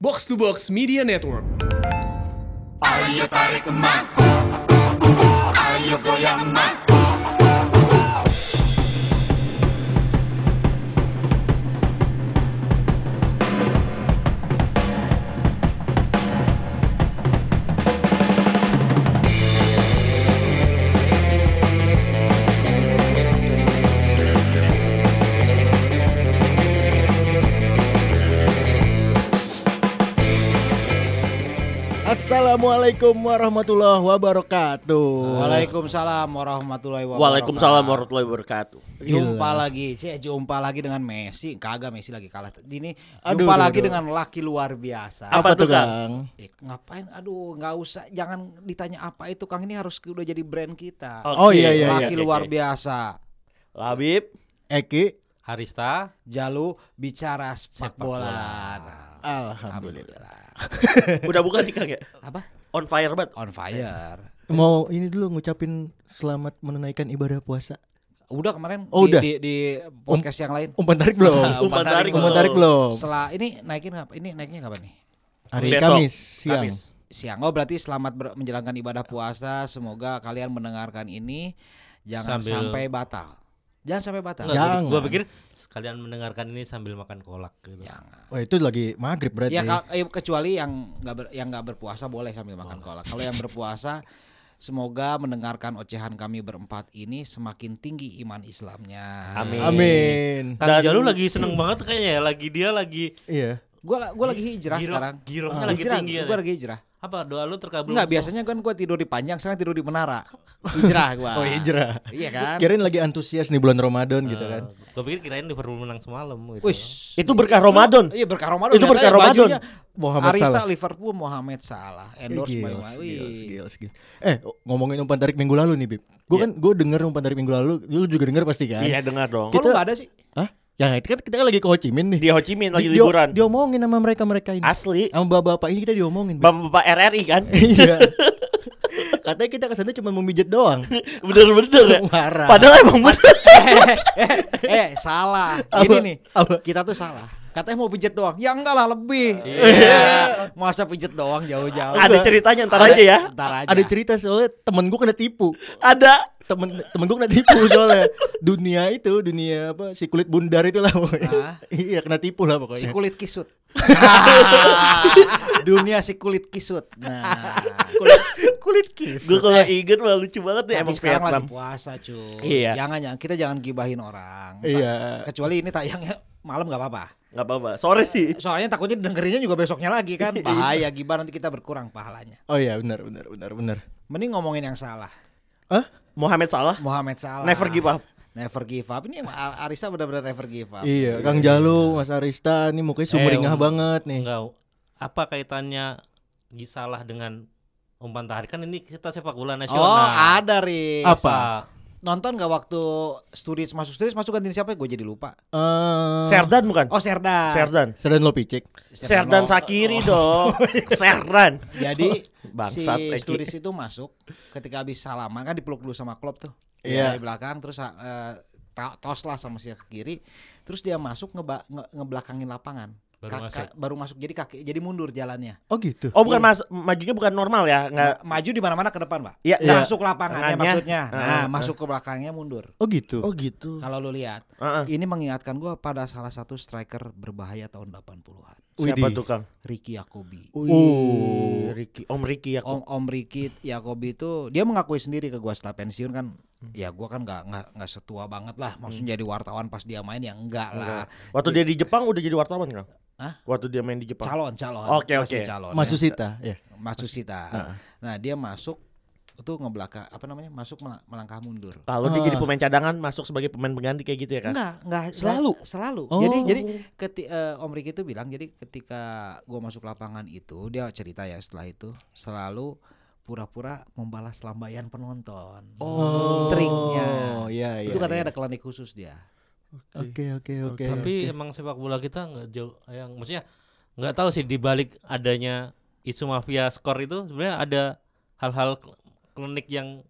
Box to Box Media Network. Ayo tarik emak Ayo goyang emak Assalamualaikum warahmatullahi wabarakatuh. Waalaikumsalam warahmatullahi wabarakatuh. Waalaikumsalam warahmatullahi wabarakatuh. Jumpa lagi, cek jumpa lagi dengan Messi. Kagak Messi lagi kalah. Ini Aduh, jumpa aduh, lagi aduh. dengan laki luar biasa. Apa tuh, Kang? Eh, ngapain? Aduh, nggak usah. Jangan ditanya apa itu, Kang. Ini harus udah jadi brand kita. Oh, iya, iya, laki oke, luar oke. biasa. Labib. Eki, Harista, Jalu bicara sepak, bola. Nah, alhamdulillah. Udah bukan nih Kang ya? Apa? On fire banget. On fire. Mau ini dulu ngucapin selamat menunaikan ibadah puasa. Udah kemarin Oh, di, udah. di, di podcast yang lain. Umpan tarik Oh, belum? Umpan tarik Umpan belum. tarik belum? Setelah ini naikin apa? Ini naiknya kapan nih? Hari Besok. Kamis siang. Kamis. siang. Oh berarti selamat ber- menjalankan ibadah puasa. Semoga kalian mendengarkan ini jangan Sambil- sampai batal. Jangan sampai batal. Enggak. Jangan. Ya. Gue pikir sekalian mendengarkan ini sambil makan kolak gitu. Jangan. Wah, itu lagi maghrib berarti. Iya, Ya kal- eh, kecuali yang nggak ber- yang nggak berpuasa boleh sambil makan kolak. Kalau yang berpuasa Semoga mendengarkan ocehan kami berempat ini semakin tinggi iman Islamnya. Amin. Amin. Dan- Kang Jalu lagi seneng banget kayaknya ya, lagi dia lagi Iya. Gua la- gua lagi hijrah Giro- sekarang. girohnya Ah. lagi hijrah, tinggi ya, Gua Teh? lagi hijrah. apa doa lu terkabul? Enggak, biasanya kan gua tidur di panjang, sekarang tidur di menara. Hijrah gua. Ah. Oh, hijrah. Iya kan? Kirain lagi antusias nih bulan Ramadan gitu kan. Gue Eh, pikir kirain Liverpool menang semalam gitu. Wis. Itu berkah Ramadan. Iya berkah Ramadan. Itu Lihat berkah aja Ramadan. bajunya Muhammad Arista Salah. Liverpool Mohamed Salah Ah, endorse by Gils, Mawi. gils, gils, gils. Eh, ngomongin umpan tarik minggu lalu nih, Bib. Gue kan gue denger umpan tarik minggu lalu, lu juga denger pasti kan? Iya dengar dong. Kok lu nggak ada sih? Hah? Ya itu kan kita kan lagi ke Ho Chi Minh nih. Di Ho Chi Minh lagi Di- di- liburan. Diomongin sama mereka-mereka ini. Asli. Sama bapak-bapak ini kita diomongin. Bib. Bapak-bapak RRI kan? Iya. Katanya kita kesana cuma memijit doang. Bener-bener Iya. ya. Marah. Padahal emang bener. eh salah. Apa? Ini nih. Apa? Kita tuh salah. Katanya mau pijet doang. Ya enggak lah lebih. Iya. Masa pijet doang jauh-jauh. Ada ceritanya ntar aja ya. Ntar aja. Ada cerita soalnya temen gue kena tipu. Ada. Temen temen gue kena tipu soalnya. dunia itu, dunia apa si kulit bundar itu lah pokoknya. Hah? iya kena tipu lah si pokoknya. kulit kisut. Dunia si kulit kisut. Nah, kulit, kulit kis. Gue kalau inget malah lucu banget nih tapi emang sekarang Vietnam. lagi puasa, cuy. Iya. Jangan jangan kita jangan gibahin orang. Iya. Kecuali ini tayangnya malam nggak apa-apa. Gak apa-apa. Sore sih. Soalnya takutnya dengerinnya juga besoknya lagi kan Bahaya gibah nanti kita berkurang pahalanya Oh iya benar benar benar benar. Mending ngomongin yang salah Hah? Muhammad Salah. Muhammad Salah Never give up. Never give up Ini Ar- Arisa benar-benar never give up Iya, Kang Jalu, Mas Arista ini mukanya sumringah um, banget nih. Enggak. Apa kaitannya salah dengan umpan tarik kan ini kita sepak bola nasional. Ah. Oh ada Riz Apa? Apa? Nonton gak waktu Studies masuk Studies masuk gantiin siapa Gue jadi lupa Eh, Serdan bukan? Oh Serdan Serdan. Serdan Lopicik. Lo- Serdan Sakiri dong. Serdan. Oh, Jadi Bangsat, si Eki. Studies itu masuk ketika habis salaman kan dipeluk dulu sama Klopp tuh. Iya. Dari belakang terus eh, ta- tos lah sama si ke kiri. Terus dia masuk ngeba- nge- ngebelakangin lapangan. Baru Ka- masuk. ka- baru masuk jadi kaki jadi mundur jalannya. Oh gitu. Oh bukan mas, majunya bukan normal ya, nggak Ma- maju di mana-mana ke depan, Pak. Iya, Nah, iya. Masuk lapangannya Tangannya. maksudnya. Nah, Heeh, masuk ke belakangnya mundur. Oh gitu. Oh gitu. Kalau lu lihat, Heeh. ini mengingatkan gua pada salah satu striker berbahaya tahun 80-an. Widih. Siapa tuh Kang? Ricky Yakobi. Oh, Ricky, Om Ricky ya. Om Om Riki Yakobi itu dia mengakui sendiri ke gua setelah pensiun kan ya gua kan nggak nggak nggak setua banget lah maksudnya jadi wartawan pas dia main ya enggak lah Waktu dia di Jepang udah jadi wartawan Kang? Iya. Hah? Waktu dia main di Jepang. calon calon Oke, masih oke. calon Mas ya. Susita, ya. Masusita. nah dia masuk itu ngebelakang apa namanya masuk mela- melangkah mundur Kalau Ah. dia jadi pemain cadangan masuk sebagai pemain pengganti kayak gitu ya Kang? Enggak, enggak Selalu? enggak, selalu. Oh. Jadi jadi keti, eh, Om Riki itu bilang jadi ketika gua masuk lapangan itu dia cerita ya setelah itu selalu pura-pura membalas lambaian penonton. Oh, triknya. iya, iya, itu iya. katanya ada klinik khusus dia. Oke, oke, Iya, oke. Tapi emang sepak bola kita nggak jauh yang maksudnya nggak tahu sih di balik adanya isu mafia skor itu sebenarnya ada hal-hal klinik yang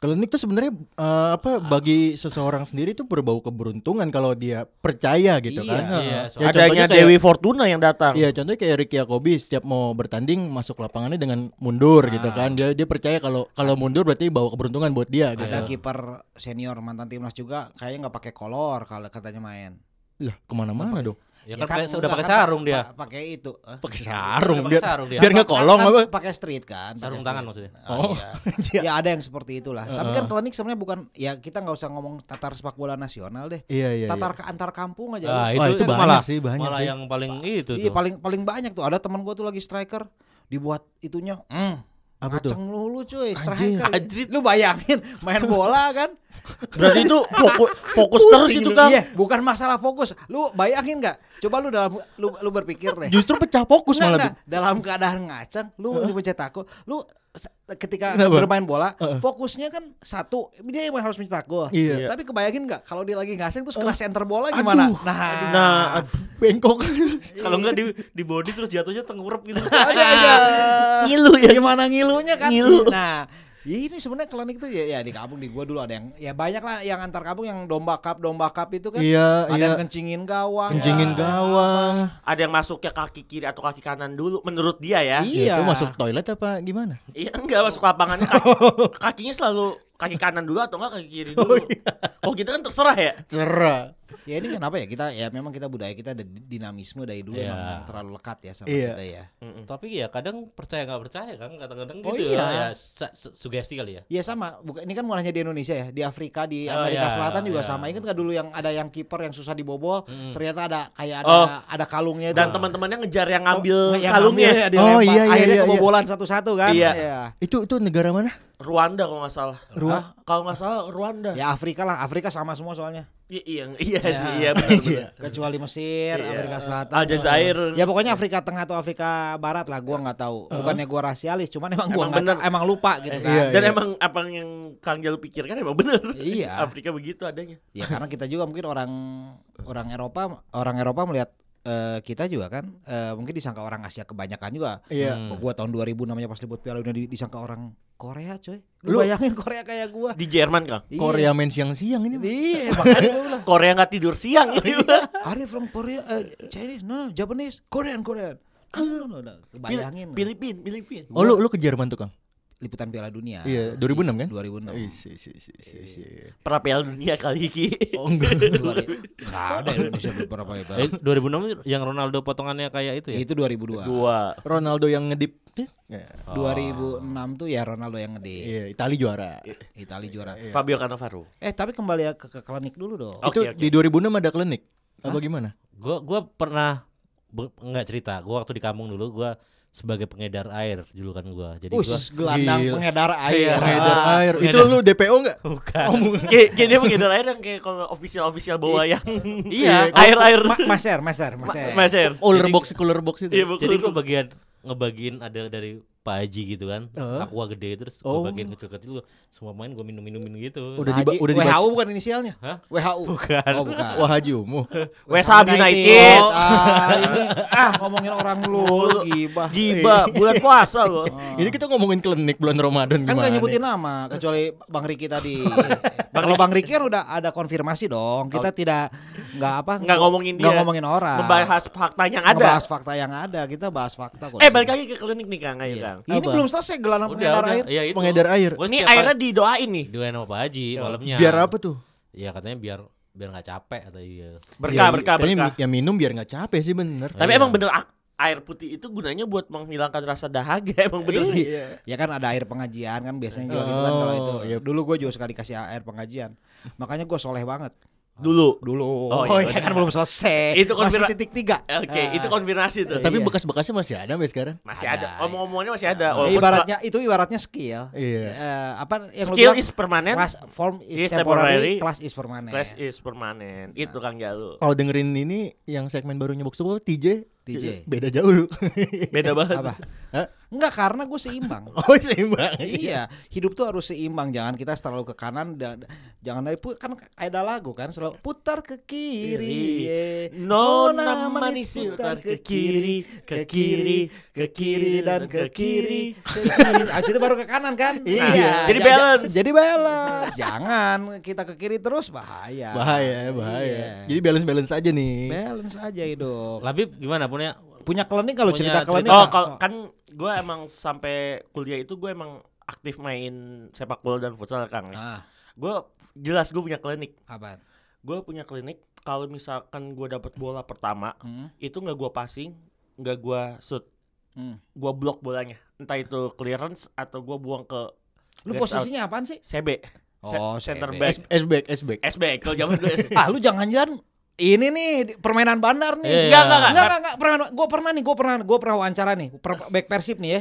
Klinik tuh sebenarnya eh, Ah. apa bagi seseorang sendiri tuh berbau keberuntungan kalau dia percaya gitu Iya, kan. iya, Ya, soalnya- contohnya Adanya kayak- Dewi Fortuna yang datang. Iya, contohnya kayak Ricky Yakobi setiap mau bertanding masuk lapangannya dengan mundur gitu Ah. kan. Dia dia percaya kalau kalau mundur berarti bawa keberuntungan buat dia gitu. Ada Iya. kiper senior mantan timnas juga kayaknya nggak pakai kolor kalau katanya main. Lah, kemana-mana dong. Ya, Ya kan, pakai- udah enggak pakai kan, sarung dia. pa- Pakai itu. eh? Pakai sarung Udah dia. pakai sarung dia. Biar nggak Kan- kolong kan apa? Pakai street kan. pakai Sarung tangan street. maksudnya. Oh, Oh, iya. iya. Ah. ya ada yang seperti itulah. Tapi kan klinik sebenarnya bukan ya kita nggak usah ngomong tatar sepak bola nasional deh. Iya, iya. Tatar ke antar kampung aja. Ah, lu. Wah, itu itu banyak malah- sih, banyak Malah sih. yang paling itu Iya tuh. paling paling banyak tuh. Ada teman gua tuh lagi striker dibuat itunya. Mm, Apa tuh? ngaceng lulu cuy, Anjing. striker. Lu bayangin main bola kan? Berarti itu fokus, fokus terus Pusing itu lu. Kang. Iya, bukan masalah fokus. Lu bayangin nggak? Coba lu dalam lu, lu berpikir deh. Justru pecah fokus Nggak, malah. nggak. dalam keadaan ngaceng, lu mencet aku, lu se- ketika Kenapa? bermain bola fokusnya kan satu dia emang harus mencetak gol Iya. tapi kebayangin nggak kalau dia lagi ngaceng terus kena center bola gimana Aduh. nah, Nah, aduh. Bib. Bengkok. Kalau enggak di di body terus jatuhnya tengkurap gitu. ada aja. Ngilu ya. Gimana ngilunya kan? Ngilu. Nah, ya ini sebenarnya klinik itu ya, ya di kampung di gua dulu ada yang ya banyak lah yang antar kampung yang domba cup domba cup itu kan. Iya, ada iya. yang kencingin gawang. Nah, Kencingin lah. gawang. Ada yang masuknya kaki kiri atau kaki kanan dulu menurut dia ya. Iya. Itu masuk toilet apa gimana? Iya enggak masuk lapangannya kaki, kakinya selalu kaki kanan dulu atau enggak kaki kiri dulu. iya. Oh, kita kan terserah ya. Cerah. Ya ini kenapa ya kita ya memang kita budaya kita ada dinamisme dari dulu Iya. emang terlalu lekat ya sama Iya. kita ya. Tapi ya kadang percaya nggak percaya kan kadang-kadang Oh, gitu iya. ya. sa- su- sugesti kali ya. Iya sama, bukan ini kan bukan hanya di Indonesia ya, di Afrika, di Oh, Amerika iya, Selatan juga iya. sama. Ingat nggak dulu yang ada yang kiper yang susah dibobol, Mm. ternyata ada kayak ada Oh. ada kalungnya itu. Dan teman-teman teman-temannya ngejar yang Iya. Oh, ngambil yang kalungnya. ngambil ya, dilempar. Oh, iya, iya, akhirnya iya, kebobolan satu-satu kan. Iya. Itu itu negara mana? Rwanda kalau nggak salah. Rwa- Ah, kalau nggak salah Rwanda. Ya Afrika lah, Afrika sama semua soalnya. I- iya iya sih iya benar benar. Kecuali Mesir, Iya. Afrika Selatan. Aljazair. Ya pokoknya Afrika Tengah atau Afrika Barat lah, gua nggak tahu. Bukannya gua rasialis, cuman emang gua Emang nggak bener. tahu, emang lupa gitu kan. Iya, Dan iya. emang apa yang Kang Jalu pikirkan emang benar. Iya. Afrika begitu adanya. Ya karena kita juga mungkin orang orang Eropa, orang Eropa melihat eh, kita juga kan eh, mungkin disangka orang Asia kebanyakan juga. Oh, Iya. Hmm. Gua tahun 2000 namanya pas libut Piala Dunia di- disangka orang Korea, coy. Lu, Lu- bayangin Korea kayak gua. Di Jerman Kang. Iya. Korea main siang-siang ini. Iya, makanya gua bilang, Iya. Korea nggak tidur siang gitu. Are you from Korea? Eh, Chinese? No, no, Japanese. Korean, Korean. No, Iya. no, no, no. Bayangin. Filipin, Filipin. Oh lu lu ke Jerman tuh Kang? liputan Piala Dunia. Iya, 2006 kan? 2006. Isi, isi, isi, isi, isi. Pra Piala Dunia kali ini. Oh enggak. Enggak ada ya, Indonesia beberapa kali. Eh, 2006 yang Ronaldo potongannya kayak itu ya. Itu 2002. Dua. Ronaldo yang ngedip. Ya, Iya. 2006 tuh ya Ronaldo yang ngede. Iya, Itali juara. Itali juara. Fabio Cannavaro. Eh, tapi kembali ya ke, ke klinik dulu dong. itu Oke, oke. di 2006 ada klinik. Apa gimana? Gua gua pernah be- nggak cerita. Gua waktu di kampung dulu gua sebagai pengedar air julukan gua. Jadi gua Us, gelandang Gila. pengedar air. Pengedar Ah. air. Itu pengedar. lu DPO enggak? bukan. Kayak kayak dia mengedar air yang kayak kalau official-official bawa yang Iya. air-air Ma- maser, maser, maser. maser. Uler box, Oh, cooler box itu. Iya, Bu. Jadi gua bagian ngebagiin ada dari Pak Haji gitu kan. Heeh. Aqua gede terus Oh. gua bagiin kecil-kecil gua semua main gua minum-minumin gitu. Udah Haji, diba- udah WHO dibaca. bukan inisialnya? Hah? WHO. Bukan. Oh, bukan. Wah, Haji Umuh. Wesam United. Oh, ah, ini ah ngomongin orang lu gibah. Giba, bulan puasa loh. Ini kita ngomongin klinik bulan Ramadan Kan gimana? gak nyebutin nama kecuali Bang Riki tadi. Kalau Bang Riki kan udah ada konfirmasi dong. Kita tidak nggak apa Nggak ngomongin nggak dia. ngomongin orang. Membahas fakta yang ada. Ngebahas fakta yang ada. Kita bahas fakta kok. Eh, balik lagi ke klinik nih Kang, ayo Kang. Ini Apa? belum selesai gelandang pengedar air. Ya itu. Pengedar air. Gua Ini setiap airnya hari- didoain nih. doain sama Pak Haji malamnya. Biar apa tuh? Ya katanya biar biar nggak capek atau iya. Berkah, Ya, berkah, kayaknya berkah. mi- Ya minum biar nggak capek sih bener. Tapi Iya. emang bener ak- air putih itu gunanya buat menghilangkan rasa dahaga emang bener. Ya kan ada air pengajian kan biasanya juga gitu Oh, kan kalau itu. iya. Dulu gue juga suka dikasih air pengajian. Makanya gue soleh banget. Dulu. Dulu. Oh, Oh, iya, iya kan belum selesai. Itu Masih konfirma- titik tiga. Oke, Ah. itu konfirmasi tuh. Tapi Iya. bekas-bekasnya masih ada sampai sekarang. Masih ada. Ada. Omong-omongannya masih ada. Ya, Walaupun ibaratnya itu ibaratnya skill. Iya. Eh, apa yang lu skill bilang, is permanent, class form is, is temporary, temporary, class is permanent. Nah. class is permanent. Itu Kang Jalu. Kalau dengerin ini yang segmen barunya Box to Box TJ, TJ. beda jauh. Beda banget. apa? Hah? Enggak karena gue seimbang. Oh seimbang. iya, hidup tuh harus seimbang. Jangan kita terlalu ke kanan dan jangan dari pu- kan ada lagu kan selalu putar ke kiri. ye. Nona manis putar ke kiri, ke kiri, ke kiri dan ke kiri. Ke kiri. Abis itu baru ke kanan kan? Iya. Jadi Ja- ja- balance. Jadi balance. Jangan kita ke kiri terus bahaya. Bahaya, bahaya. Iya. Jadi balance balance aja nih. Balance aja hidup. Labib gimana ya, punya? Punya klenik kalau Punya cerita klenik. cerita. Oh, Pak? kalau kan gue emang sampai kuliah itu gue emang aktif main sepak bola dan futsal kang. ya. Ah, Gue jelas gue punya klinik. apaan? Gue punya klinik. Kalau misalkan gue dapat bola pertama, Hmm, itu nggak gue passing, nggak gue shoot, hmm. gue blok bolanya. Entah itu clearance atau gue buang ke Lu Guys posisinya apaan sih? CB. Se- Oh, center CB. back. S back, S back. SB kalau zaman gue Ah, lu jangan-jangan ini nih di- permainan bandar Iya. nih. Enggak, enggak, Enggak, enggak. enggak, enggak, pernah. Gue pernah nih, gue pernah, gue pernah wawancara nih, per- back persib nih ya.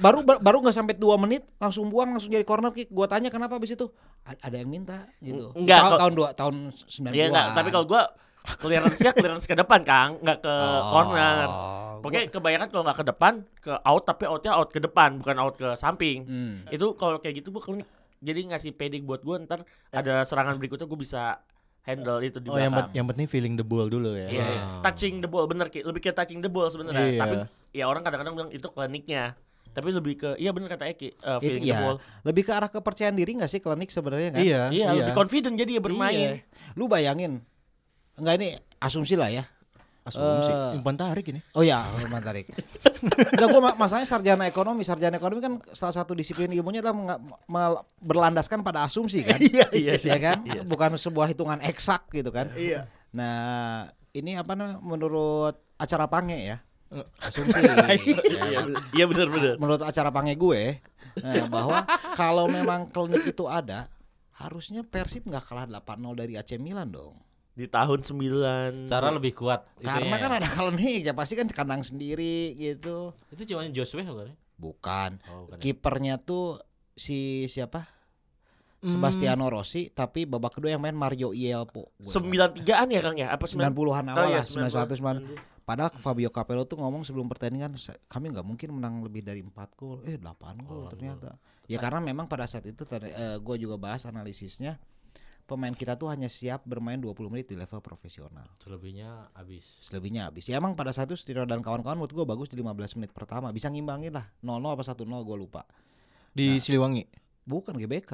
Baru ba- baru nggak sampai 2 menit, langsung buang, langsung jadi corner kick. Gue tanya kenapa abis itu "A- ada yang minta gitu. Enggak, tahun, kok- tahun dua tahun sembilan Iya enggak, tapi kalau gue clearance-nya clearance ke depan, Kang, enggak ke Oh. Oh. corner. Pokoknya kebanyakan kalau nggak ke depan, ke out tapi outnya out ke depan, bukan out ke samping. Hmm. Itu kalau kayak gitu gue klinik. Jadi ngasih padding buat gue ntar ada serangan berikutnya gue bisa handle itu di Oh yang, belakang. pen- yang penting feeling the ball dulu ya. Iya, iya. touching the ball bener Ki. lebih ke touching the ball sebenarnya. Iya. Tapi ya orang kadang-kadang bilang itu kliniknya. Tapi lebih ke iya bener kata Eki, eh, Itu feeling the ya, ball. lebih ke arah kepercayaan diri nggak sih klinik sebenarnya kan? Iya, Iya, lebih confident jadi ya Iya. bermain. Lu bayangin, enggak ini asumsi lah ya. Asumsi. Eh. Umpan tarik ini. Oh ya, hormat tarik. Enggak gua ma- masalahnya sarjana ekonomi. Sarjana ekonomi kan salah satu disiplin ilmunya adalah menga- mel- berlandaskan pada asumsi kan. Iya sih. ya kan? Bukan sebuah hitungan eksak gitu kan. Iya. Nah, ini apa namanya menurut acara Pange ya? Asumsi. Eh. Ya, Iya, bener- Iya bener bener. menurut acara Pange gue nah, bahwa kalau memang klinik itu ada, harusnya Persib nggak kalah 8-0 dari AC Milan dong. Di tahun 9 eh, Cara lebih kuat. Iya. Karena itunya kan ya. ada klinik ya pasti kan kandang sendiri gitu. itu cuma Joshua bukan? ya? Bukan. Oh, bukan. ya. kipernya tuh si siapa? Sebastiano Rossi tapi babak kedua yang main Mario Ielpo. Gua ingat. 93-an ya Kang ya? Apa 90? 90-an awal lah, 91 90-an. 90. Padahal Fabio Capello tuh ngomong sebelum pertandingan "Sa- kami nggak mungkin menang lebih dari 4 gol. Eh 8 gol Oh, ternyata. Ya karena memang pada saat itu gue juga bahas analisisnya pemain kita tuh hanya siap bermain 20 menit di level profesional. Selebihnya habis. Selebihnya habis. Ya emang pada saat itu Stiro dan kawan-kawan menurut gue bagus di 15 menit pertama. Bisa ngimbangin lah. 0-0 apa 1-0 gue lupa. Di Siliwangi. Bukan GBK,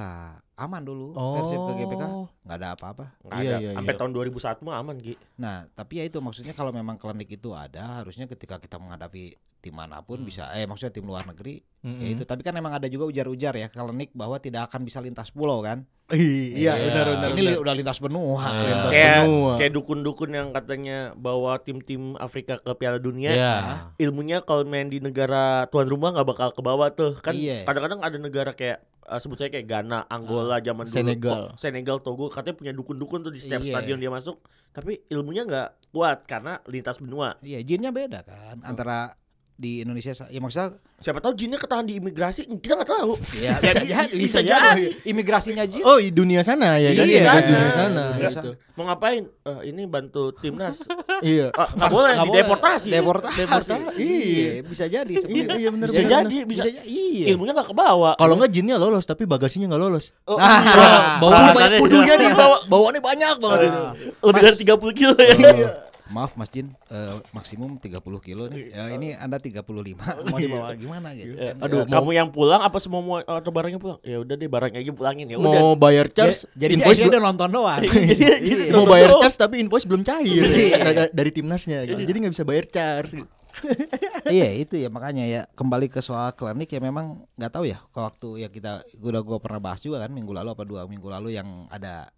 aman dulu. Oh. Persib ke GBK nggak ada apa-apa. Nggak Iya, ada. iya, Sampai iya. tahun 2001 mah aman, Ki. Nah, tapi ya itu maksudnya kalau memang klinik itu ada, harusnya ketika kita menghadapi tim Hmm. manapun bisa. Eh maksudnya tim luar negeri, ya Mm-mm. itu. Tapi kan emang ada juga ujar-ujar ya klinik bahwa tidak akan bisa lintas pulau kan. Iya, Iya. benar benar. benar. Ah, Ini iya. li- udah lintas benua. Nah, Lintas Lintas Kayak benua. kayak dukun-dukun yang katanya bawa tim-tim Afrika ke Piala Dunia. Iya. Ilmunya kalau main di negara tuan rumah nggak bakal ke bawah tuh. Kan Iya. kadang-kadang ada negara kayak eh, sebut sebutnya kayak Ghana, Angola zaman Ah, dulu, Senegal. Ko- Senegal, Togo katanya punya dukun-dukun tuh di setiap Iya. stadion dia masuk, tapi ilmunya nggak kuat karena lintas benua. Iya, jinnya beda Oh. kan antara di Indonesia sa- ya maksudnya Siapa tahu jinnya ketahan di imigrasi, kita nggak tahu. ya Ya, bisa bi- jadi, bisa bisa jadi. jadi. imigrasinya jin Oh, i- dunia sana ya kan? Iya, Di sana. dunia sana Dunia gitu. sana. Mau ngapain? Eh, ini bantu timnas. Iya. Ah, nggak boleh Nggak boleh. dideportasi. Deportasi. Deportasi. Iya, bisa jadi seperti Iya, itu. iya, bener, Bisa bener, jadi, Bisa, bisa. jadi, iya. Ilmunya nggak kebawa. Kalau enggak jinnya lolos tapi bagasinya enggak lolos. Oh, Nah. bro, Ah, Baunya peralatannya banyak, juga. pudunya dia bawa. Bawaannya banyak banget itu. Nah, eh, lebih Mas- dari 30 kilo ya. Eh, Maaf Mas Jin, eh, maksimum 30 kilo nih. Ya, ini Anda 35. Mau dibawa gimana gitu. Eh, kan? aduh, kamu yang pulang apa semua mau- atau barangnya pulang? Ya udah deh barangnya aja pulangin ya Mau udah. bayar charge, Ya, jadi invoice dia bel- udah nonton doang. jadi Iya. mau nonton bayar doang. charge tapi invoice belum cair dari, dari timnasnya gitu. Jadi nggak bisa bayar charge. gitu. Iya, itu ya makanya ya kembali ke soal klinik ya memang nggak tahu ya ke waktu ya kita udah gua pernah bahas juga kan minggu lalu apa dua minggu lalu yang ada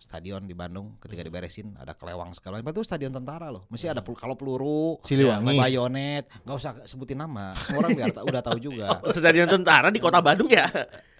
stadion di Bandung ketika diberesin ada kelewang segala macam itu stadion tentara loh masih ada pel- kalau peluru Siliwangi. bayonet nggak usah sebutin nama semua orang biar ta- udah tahu juga Sedarian tentara di kota Bandung ya.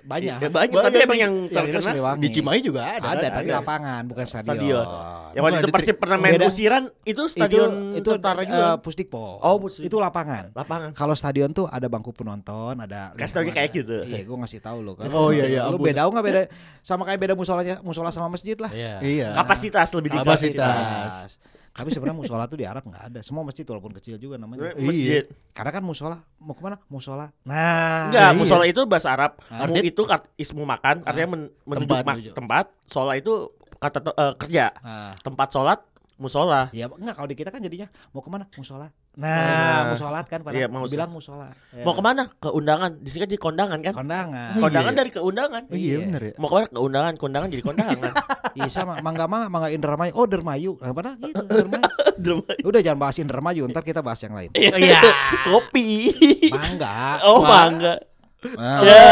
banyak Ya, banyak, tapi Banyak. emang yang yang itu terkena Siliwangi. Di Cimahi juga ada. ada, Iya. kan? tapi ada. lapangan bukan stadion. Stadion. Ya, yang waktu Bukan, itu ada Persib pernah main beda. Busiran itu stadion itu itu tentara eh, juga. Pusdikpol. Oh, Pusdikpol. Itu lapangan. Lapangan. Kalau stadion tuh ada bangku penonton, ada Kasih tau lingkungan, dia kayak ada- gitu. Iya, gua ngasih tahu lo kan. Oh, iya, iya, Lu ampun. beda enggak beda sama kayak beda musolanya, musola sama masjid lah. Iya. Iya. Kapasitas lebih di Kapasitas. Kapasitas. Tapi sebenarnya musola tuh di Arab nggak ada. Semua masjid walaupun kecil juga namanya. Iya. Masjid. Karena kan musola mau kemana? Musola. Nah, Enggak, iya. musola itu bahasa Arab. Ah. Mu itu kat- ismu makan, artinya men- menunjuk Tempat, mak- menunjuk. tempat. Sola itu kata te- eh, kerja. Nah, Tempat sholat, musola. ya enggak kalau di kita kan jadinya mau kemana? Musola. Nah, musolat kan pada Iya, mau- bilang musola. Ya. Mau kemana? Ke undangan. Di sini kan jadi kondangan Oh, kan? Kondangan. Kon- Kondangan Iya. dari keundangan. Oh, iya bener ya. Mau kemana? Ke undangan, kondangan jadi kondangan. Iya sama mangga mah mangga Indramayu. Oh, Dermayu. Nah, padahal gitu Dermayu. Drama- Udah jangan bahas Indramayu, ntar kita bahas yang lain. Iya. Kopi. Mangga. Oh, Ma- mangga. Nah, Ya.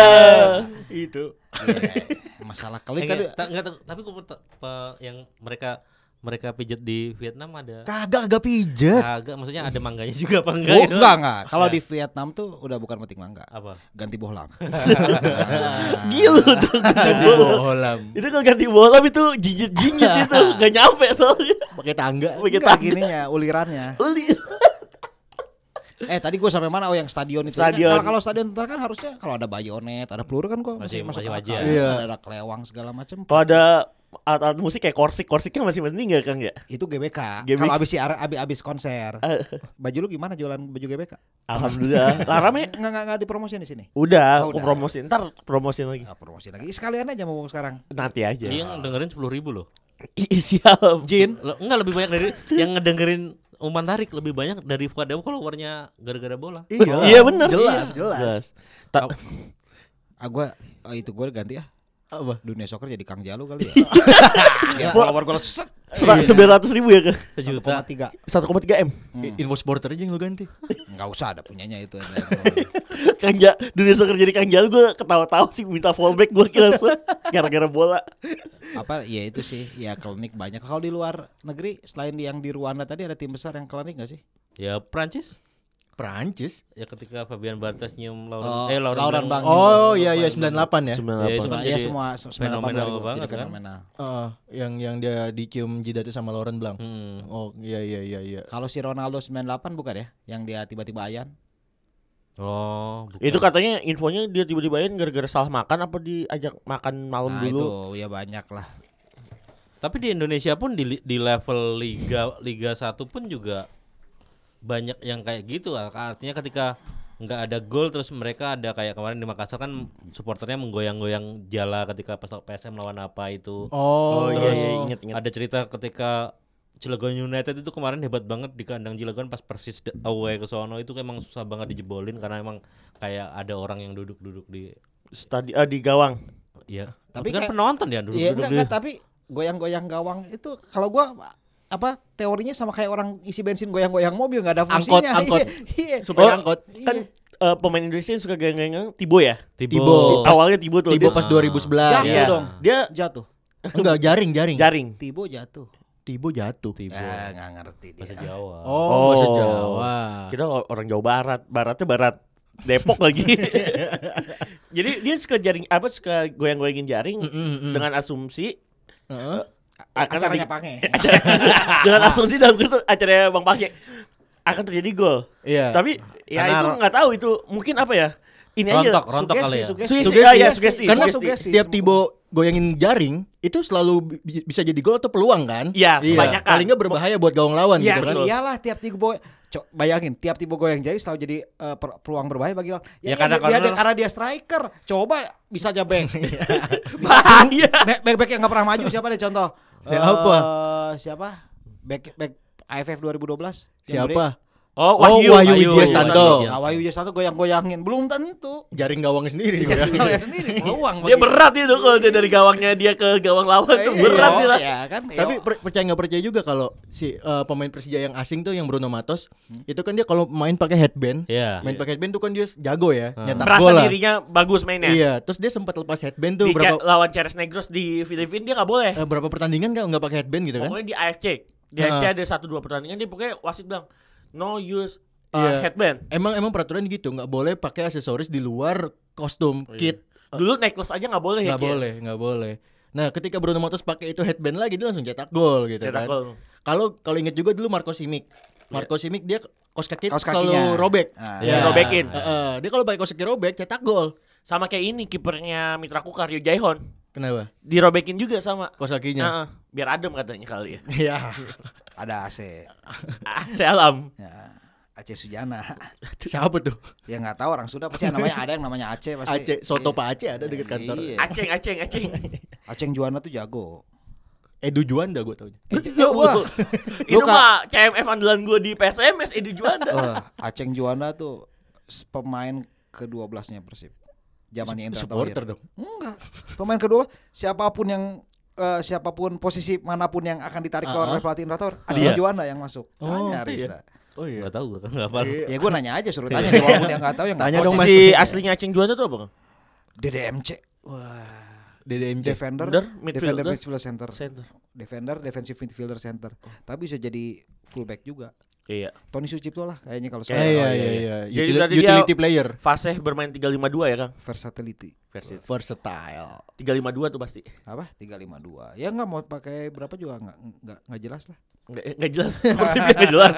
Itu. iya. Masalah Eh, kali enggak, tadi ta- enggak, ta- tapi gue yang mereka mereka pijat di Vietnam ada kagak agak pijet. agak maksudnya ada mangganya juga apa enggak Enggak, oh, itu? enggak, enggak. Kalau Enggak. di Vietnam tuh udah bukan metik mangga, Apa? ganti bohlam. Gila tuh. bolam. Itu kalau ganti bola itu jinjit-jinjit itu. Gak nyampe soalnya. Pakai tangga. Begitu. Enggak gininya, ulirannya. Uli. Eh, tadi gua sampai mana? Oh, yang stadion itu. Stadion. Kan Kalau kalau stadion ntar kan harusnya kalau ada bayonet, ada peluru kan gua masih, Masih- masuk masih akal. wajar. Iya. Ada, ada kelewang segala macam. Kalau ada alat-alat musik kayak korsik, korsiknya masih mending gak Kang ya? Itu GBK. GBK. Kalau abis si Ara- abi- abis konser. Eh. Baju lu gimana jualan baju GBK? Alhamdulillah. Laram ya? Enggak enggak enggak dipromosin di sini. Udah, Oh, aku udah. promosin. Ntar promosin lagi. Nah, promosi lagi. Ih, Sekalian aja mau sekarang. Nanti aja. Ya. Dia yang dengerin sepuluh ribu loh. Ih, siap. Jin. Lo, enggak lebih banyak dari yang ngedengerin umpan tarik lebih banyak dari Fuad Dewa followernya gara-gara bola. Iya, benar. Jelas, Iya. jelas. Ta- Ah gua ah, itu gua ganti ya. Apa? Dunia soccer jadi Kang Jalu kali ya. ya follower gua set. sembilan ratus ribu ya ke Sejuta. 1,3. 1,3 m Info supporter aja yang lu ganti. Enggak usah ada punyanya itu. Kang Ja, dunia soccer jadi Kang Jal gue ketawa-tawa sih minta fallback gue kira se- gara-gara bola. Apa ya itu sih ya klinik banyak. Kalau di luar negeri selain yang di Rwanda tadi ada tim besar yang klinik gak sih? Ya Prancis Perancis. ya ketika Fabian Bartes nyium Lauren Oh, eh Lauren, Lauren Bang. Oh iya iya 98 ya. Ya, itu kan ya jadi- semua 98 fenomenal 2000, jadi banget kan? fenomenal. Heeh, Oh, yang yang dia dicium jidatnya sama Lauren Blanc. Hmm. Oh iya iya iya iya. Kalau si Ronaldo 98 bukan ya? Yang dia tiba-tiba ayan. Oh, bukan. kan Itu katanya infonya dia tiba-tiba aja gara-gara salah makan apa diajak makan malam Nah, dulu. itu ya banyak lah. Tapi di Indonesia pun di, li- di level liga Liga 1 pun juga banyak yang kayak gitu. ah. Artinya ketika nggak ada gol terus mereka ada kayak kemarin di Makassar kan supporternya menggoyang-goyang jala ketika pas PSM lawan apa itu. Oh, iya, terus iya, ingat, ingat. Ada cerita ketika Cilegon United itu kemarin hebat banget di kandang Cilegon pas persis de- away ke sono itu emang susah banget dijebolin karena emang kayak ada orang yang duduk-duduk di Stadi eh, di gawang. ya Tapi tapi kan kayak- penonton ya Iya duduk-duduk enggak, di- enggak, tapi goyang-goyang gawang itu kalau gua apa teorinya sama kayak orang isi bensin goyang-goyang mobil nggak ada Angkot, fungsinya. angkot. Iya. Supaya Oh, angkot. Kan eh, pemain Indonesia yang suka geng-gengan Tibo ya. Tibo. Oh. Tibo. Awalnya Tibo tuh. Tibo dia- pas Ah. 2011. Jatuh Iya. dong. Dia Jatuh. Enggak jaring jaring. jaring. Tibo jatuh. Tibo jatuh. Tibo. Ah, nggak ngerti dia. bahasa Jawa. Oh, bahasa Oh. Jawa. Kita orang Jawa Barat, baratnya barat Depok lagi. Jadi dia suka jaring apa suka goyang-goyangin jaring Mm, mm, mm. dengan asumsi Heeh. akan Acaranya terjadi- pange. dengan asumsi dalam kurung acaranya Bang Pake akan terjadi gol. Iya. Tapi ya Karena itu ro- nggak tahu itu mungkin apa ya? Ini Rontok, aja. rontok kali ya. Sugesti, ah, iya, sugesti, Karena sugesti. sugesti. tiap semua. Tibo goyangin jaring itu selalu bi- bisa jadi gol atau peluang kan? Iya, kebanyakan. Paling nggak berbahaya buat gawang lawan Ya gitu kan. betul. iyalah tiap Tibo Cok, bayangin tiap Tibo goyang jari selalu jadi eh, per- peluang berbahaya bagi lawan. Ya, iya, Ya, karena dia, dia, corner. karena dia striker. Coba bisa aja bank. bisa Bahaya. back back, back yang nggak pernah maju siapa deh contoh? Siapa? Eh, siapa? Back back AFF 2012. yang Siapa? Iya. gede. Oh, Oh, Wahyu Wahyu. Wahyu Widiastanto. Widiastanto. Nah, Wahyu satu goyang-goyangin belum tentu. Jaring gawangnya sendiri. Iya, kan? Dia sendiri peluang. Dia bagi- berat itu kalau dia dari gawangnya dia ke gawang lawan Iya, tuh berat iya, dia lah. iya, kan. Tapi Iya. per- percaya nggak percaya juga kalau si eh, pemain Persija yang asing tuh yang Bruno Matos Hmm. itu kan dia kalau main pakai headband, Iya. main pakai headband tuh kan dia jago ya, nyetak Hmm. Merasa gol lah. dirinya bagus mainnya. Iya, terus dia sempat lepas headband tuh Di berapa Ca- lawan Ceres Negros di Filipina dia nggak boleh. eh, berapa pertandingan kan nggak pakai headband gitu kan? Pokoknya di AFC. Di Nah. AFC ada satu dua pertandingan dia pokoknya wasit bilang no use uh, Iya. headband. Emang emang peraturan gitu nggak boleh pakai aksesoris di luar kostum Oh, iya. kit. Dulu necklace aja nggak boleh ya. Nggak Ki? boleh, nggak boleh. Nah, ketika Bruno Matos pakai itu headband lagi dia langsung cetak gol gitu Cetak kan. gol. Kalau kalau inget juga dulu Marco Simic. Marco Simic dia kaos kaki Kaos kakinya. selalu robek. Ah. Iya, robekin. Heeh, dia kalau pakai kaos kaki robek cetak gol. Sama kayak ini kipernya Mitra Kukar Rio Jaihon. Kenapa? Dirobekin juga sama. Kos kakinya. Nah, biar adem katanya kali ya. Iya. Ada AC. Ah, Saya alam. Ya, Aceh Sujana. Siapa tuh? Ya nggak tahu orang Sunda pasti namanya ada yang namanya Aceh pasti. Aceh, soto Pak Aceh ada dekat kantor. Iya. Aceng, aceng, aceng. Aceh Juwana tuh jago. Edu Juanda gue taunya. Ya, wah. Itu Lu ka- mah CMF andalan gue di PSMS Edi Oh, Juanda. Wah, Aceng Juwana tuh s- pemain ke-12-nya Persib. Zamannya Indra Supporter dong. Thohir. Enggak. Pemain kedua siapapun yang eh, siapapun posisi manapun yang akan ditarik Ah, ah. oleh pelatih Indra Thohir, Aceng Iya. Juwana yang masuk. Oh, iya. Tanya Arista. Oh iya. Gak tau gue kan gak apa Ya gue nanya aja suruh tanya walaupun yang enggak tahu yang nggak Tanya tahu. iya dong, Mas. Posisi aslinya Aceng Juanda tuh apa Kang? DDMC. DDMC. Defender, Defender, defender, midfielder, midfielder center. center. defender, defensive midfielder center. Oh. Tapi bisa jadi fullback juga. Iya. Tony Sucipto lah kayaknya Iya kalau Kayak- saya iya Oh, iya, iya. iya. Jadi Utili- berarti dia- utility player. Fase bermain 352 ya Kang? versatility. Versi Versatile. 352 tuh pasti. Apa? 352. Ya nggak mau pakai berapa juga nggak nggak nggak jelas lah. Nggak, nggak jelas. Persibnya nggak jelas.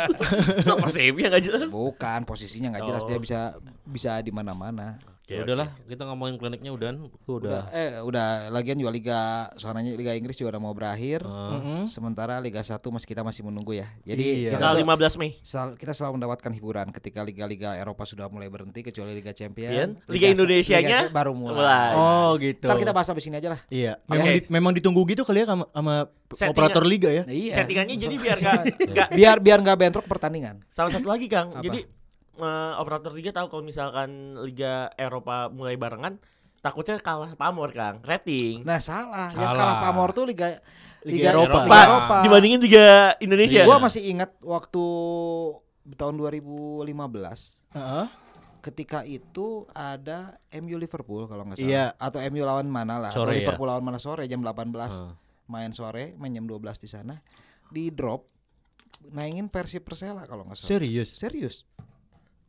So, Persibnya nggak jelas. Bukan posisinya nggak jelas Oh. dia bisa bisa di mana-mana. Oke, udahlah kita ngomongin kliniknya udah udah Udah eh udah lagian juga liga soalnya liga Inggris juga udah mau berakhir. Oh. Mm-mm. Sementara Liga 1 masih kita masih menunggu ya. Hmm. Jadi Iya. oke. kita Tanggal tuh 15 Mei. sel- kita selalu mendapatkan hiburan ketika liga-liga Eropa sudah mulai berhenti kecuali Liga Iya. Liga Champions. Indonesianya Liga baru mulai. mulai. Oh gitu. Ntar kita bahas habis ini aja lah. Iya, memang Oke. di- memang ditunggu gitu kali ya sama, sama Settingan. operator liga ya. Nah, iya. Settingannya jadi biar nggak nggak biar biar nggak bentrok pertandingan. Sama satu lagi Kang, Apa? jadi eh, operator liga tahu kalau misalkan liga Eropa mulai barengan, takutnya kalah pamor Kang, rating. Nah salah. Yang Salah. kalah pamor tuh liga Liga Eropa. Liga Pak, Eropa. Nah, dibandingin liga Indonesia. Gua masih ingat waktu tahun 2015 Heeh. ketika itu ada MU Liverpool kalau nggak Iya. salah atau MU lawan mana lah atau Sore ya? Liverpool lawan mana sore jam 18 Heeh. main sore main jam 12 di sana di drop naingin versi Persela kalau nggak salah Serius. serius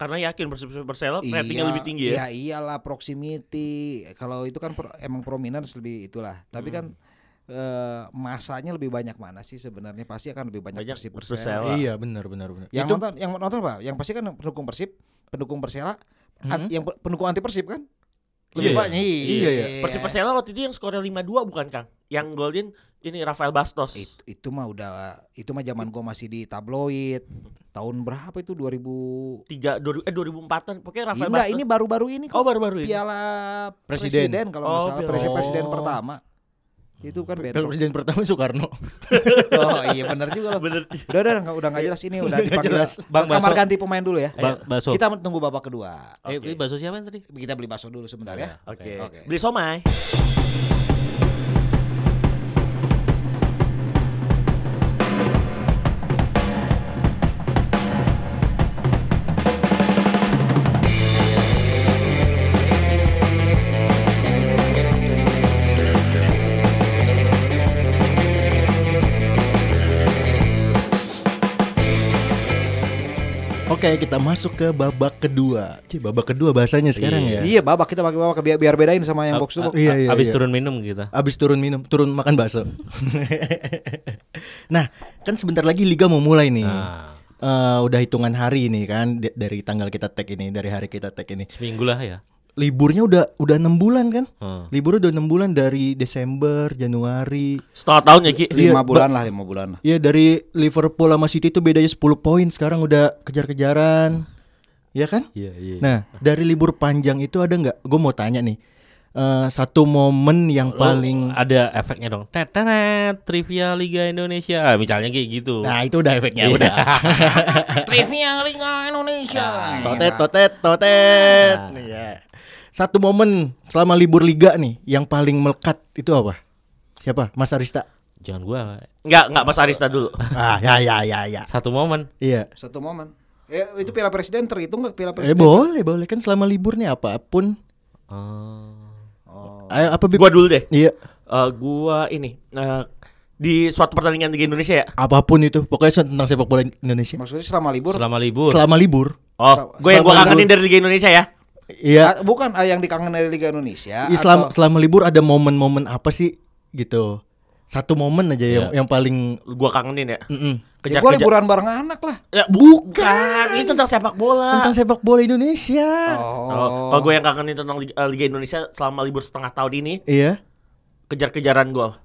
Karena yakin Persib Persela ratingnya lebih tinggi ya. Iya, iyalah proximity. Kalau itu kan pro- emang prominence lebih itulah. Tapi kan eh, masanya lebih banyak mana sih sebenarnya pasti akan lebih banyak, Banyak Persib Persela. Persela. Wah. Iya, benar benar benar. Yang itu nonton yang nonton apa? Yang pasti kan pendukung Persib, pendukung Persela, an- Hmm. Mhm. yang pe- pendukung anti Persib kan? Iya, Lebih iya. banyak. Iya, iya. Persib Persela waktu itu yang skornya 5-2 bukan Kang? Yang golin ini Rafael Bastos. Itu, itu mah udah itu mah zaman gua masih di tabloid. Tahun berapa itu 2000 Tiga, dua, ribu- eh 2004-an pokoknya Rafael Enggak, Iya, Bastos. ini baru-baru ini kok. oh baru-baru ini. Piala Presiden. presiden, kalau Oh, nggak salah Piala- presiden presiden Oh. pertama itu kan Piala bentrok presiden pertama Soekarno. oh iya benar juga loh Bener. udah udah nggak udah nggak jelas ini udah dipanggil jelas. Bang, Bang kamar bakso. ganti pemain dulu ya Ba- Iya. Iya, bakso kita tunggu babak kedua eh Oke. ini bakso siapa yang tadi kita beli bakso dulu sebentar ya Oke. Oke. Beli somai. Oke, kita masuk ke babak kedua. Cie, babak kedua bahasanya sekarang ya. iya babak kita pakai babak biar, biar bedain sama yang box A- dulu a- Iya, iya, abis iya. turun minum kita Abis turun minum, turun makan bakso. nah, kan sebentar lagi liga mau mulai nih. Nah. Eh, udah hitungan hari nih kan d- dari tanggal kita tag ini, dari hari kita tag ini. seminggu lah ya Liburnya udah udah enam bulan kan? Hmm. Liburnya udah enam bulan dari Desember, Januari. Setengah tahun ya Ki. Iya, lima bulan lah lima bulan lah Ya dari Liverpool sama City itu bedanya 10 poin sekarang udah kejar-kejaran. Ya kan? iya iya Nah, dari libur panjang itu ada nggak? Gue mau tanya nih. Eh, satu momen yang Nah, paling ada efeknya dong tetenet trivia Liga Indonesia misalnya kayak gitu Nah, itu udah efeknya udah. trivia Liga Indonesia Nah, totet totet totet. Iya. Satu momen selama libur liga nih yang paling melekat itu apa? Siapa? Mas Arista. jangan gua Enggak, enggak Mas Arista dulu. ah, ya ya ya ya. satu momen Iya. satu momen eh, itu piala presiden terhitung nggak piala Eh presiden boleh, boleh kan selama libur nih apapun. Oh. Ayo apa Bib? Gua dulu deh. Iya, Eh, gua ini eh, di suatu pertandingan Liga Indonesia ya. apapun itu pokoknya tentang sepak bola Indonesia. maksudnya selama libur selama libur Selama libur. Oh, gue yang gue Selama kangenin dari Liga Indonesia ya. Iya. Ah, bukan ah, yang dikangen dari Liga Indonesia Islam atau- selama libur ada momen-momen apa sih gitu? Satu momen aja yang yang paling Gue kangenin ya. mm-mm. ya, Kejar gua kejar. liburan bareng anak lah Ya, bukan. Ini tentang sepak bola. tentang sepak bola Indonesia. Oh. Oh, Kalau gue yang kangenin tentang Liga, eh, Liga Indonesia selama libur setengah tahun ini Iya. kejar-kejaran gol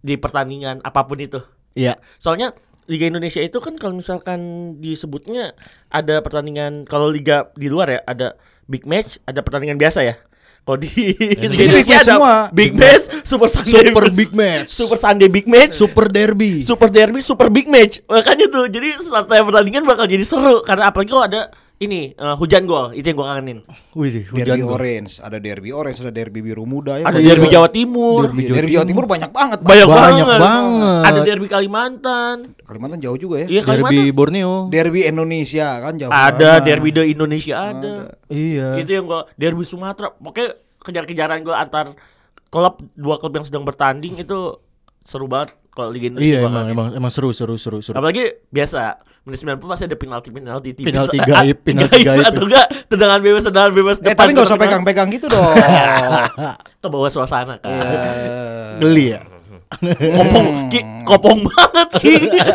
di pertandingan apapun itu. Iya. Soalnya Liga Indonesia itu kan kalau misalkan disebutnya ada pertandingan kalau liga di luar ya ada big match, ada pertandingan biasa ya. Kalau di Indonesia big match semua. big match, super Sunday, Super big match. super Sunday big match, Super derby. super derby, super big match. Makanya tuh jadi setiap pertandingan bakal jadi seru karena apalagi kalau ada ini eh, hujan gol itu yang gua kangenin. Wih, Derby hujan gua. orange, ada derby orange, ada derby biru muda ya. Ada Iya. derby Jawa Timur. Iya, derby Jawa Timur banyak banget. Pak. Banyak, Banyak banget. banget. Ada derby Kalimantan. Kalimantan jauh juga ya. Iya Kalimantan. Derby Borneo. Derby Indonesia kan jauh. ada banget. derby the Indonesia ada. Iya. Itu yang gua derby Sumatera. Pokoknya kejar-kejaran gua antar klub dua klub yang sedang bertanding itu seru banget kalau Liga Iya Indonesia. banget. emang emang emang seru seru seru seru. Apalagi biasa menit 90 pasti ada penalti penalti tipis. Penalti Ah, gaib, penalti gaib. atau enggak tendangan bebas tendangan bebas Eh tapi nggak usah tendangan- pegang-pegang gitu dong. ke bawah suasana kan. Iya. Eh, Geli ya. Kopong Ki, kopong banget Ki. Iya.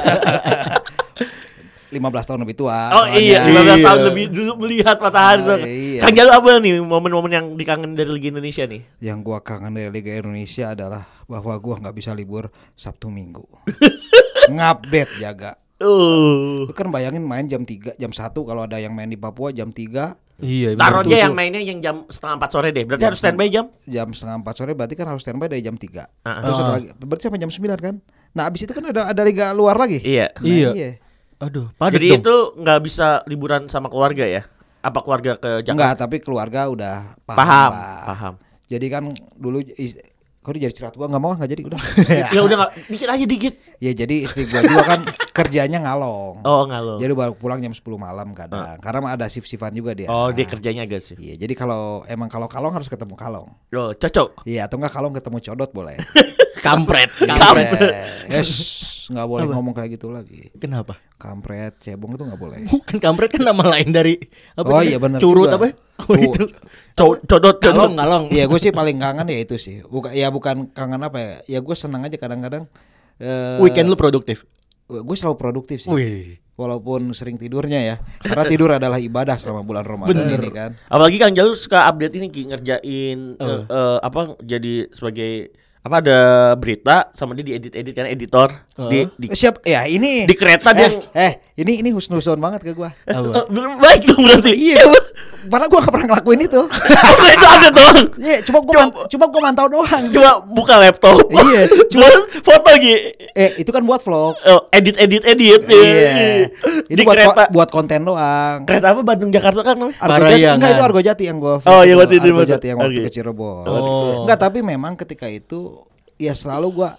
15 tahun lebih tua. Oh iya, soalnya. 15 tahun Iya. lebih dulu melihat matahari. Ah, soalnya. iya. Kang Jalu apa nih momen-momen yang dikangen dari Liga Indonesia nih? Yang gua kangen dari Liga Indonesia adalah bahwa gua nggak bisa libur Sabtu Minggu. Ngupdate jaga. Uh. Lu kan bayangin main jam 3, jam 1 kalau ada yang main di Papua jam 3, Iya. Taruh betul. aja yang mainnya yang jam setengah empat sore deh. Berarti harus standby jam. jam setengah 4 sore berarti kan harus standby dari jam 3. Ah. Terus ada Ah. lagi berarti sampai jam 9 kan. Nah, abis itu kan ada ada liga luar lagi. Iya. Nah, Iya. Aduh, padat Jadi dong. itu nggak bisa liburan sama keluarga ya? Apa keluarga ke Jakarta? Enggak, tapi keluarga udah paham. Paham, lah. paham. Jadi kan dulu is- kok dia jadi curhat gua nggak mau nggak jadi udah. ya udah nggak, dikit aja dikit. ya jadi istri gua juga kan kerjanya ngalong. Oh nggak lo. Jadi ya. baru pulang jam 10 malam kadang. Karena ada shift-shiftan juga dia. Oh dia kerjanya agak sih. Iya, jadi kalau emang kalau kalong harus ketemu kalong. Oh cocok. Iya, atau enggak kalong ketemu codot boleh. kampret. Kampret. Yes, nggak boleh ngomong kayak gitu lagi. Kenapa? Kampret, cebong itu nggak boleh. Bukan kampret kan nama lain dari apa? Oh itu? iya, bener Curut juga. apa? Oh, Cu- itu. Co- Codot codot. Kalong kalong. Iya, gue sih paling kangen ya itu sih. Bukan ya bukan kangen apa ya? Ya gue senang aja kadang-kadang eh Weekend lu produktif. gue selalu produktif sih. Wih. Walaupun sering tidurnya ya. Karena tidur adalah ibadah selama bulan Ramadan Bener. ini kan. Apalagi Kang Jalu suka update ini Ki, ngerjain eh, eh, apa jadi sebagai apa ada berita sama dia diedit-edit kan editor di, di Siap ya ini. Di kereta eh, dia yang- eh ini ini husnuzon banget ke gue. Apa? baik dong berarti. Iya. Padahal gue gak pernah ngelakuin itu. Apa itu ada dong. Iya, cuma gue cuma gue mantau doang. Cuma buka laptop. Iya, Cuma foto gitu. Eh, itu kan buat vlog. Oh, edit edit edit. Iya. Itu Di buat ko- kereta. buat konten doang. Kereta apa Bandung Jakarta kan namanya? Argo Jati, Parayangan. enggak itu Argo Jati yang gua Oh, iya, yang waktu itu, Argo waktu- Jati yang waktu oke. ke Cirebon. Oh. Enggak, tapi memang ketika itu ya selalu gua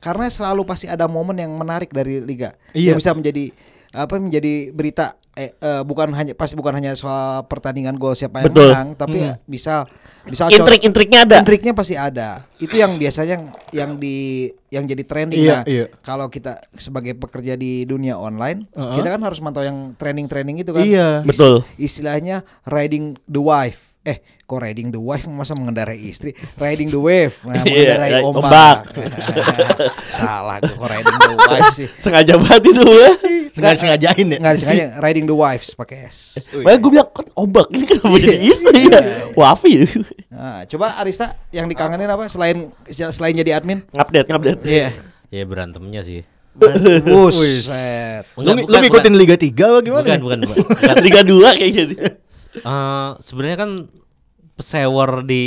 karena selalu pasti ada momen yang menarik dari liga. Iya. Yang bisa menjadi apa menjadi berita eh, eh, bukan hanya pasti bukan hanya soal pertandingan gol siapa yang Betul. Hmm. menang, tapi ya bisa bisa Intrik-intriknya ada. Intriknya pasti ada. Itu yang biasanya yang, yang di yang jadi trending Iya, Nah, iya. Kalau kita sebagai pekerja di dunia online, Uh-uh. kita kan harus mantau yang trending-trending itu kan. Iya. Is- Betul. Istilahnya riding the wife. Eh, kok riding the wife masa mengendarai istri? Riding the wave, nah, Iya, mengendarai like ombak. ombak. Salah gua, kok riding the wife sih. Sengaja banget itu ya. Sengaja sengajain ya. Enggak sengaja riding the wives pakai S. Makanya gue bilang kan ombak ini kenapa Iya. jadi istri ya? Wafi. Nah, coba Arista yang dikangenin apa selain selain jadi admin? Ngupdate ngupdate. Iya. Ya berantemnya sih. Buset. Lu, Enggak, lu bukan, ngikutin Liga 3 apa gimana? bukan, nih? bukan, bukan, bukan. Liga dua kayak gitu. Eh, sebenarnya kan pesewer di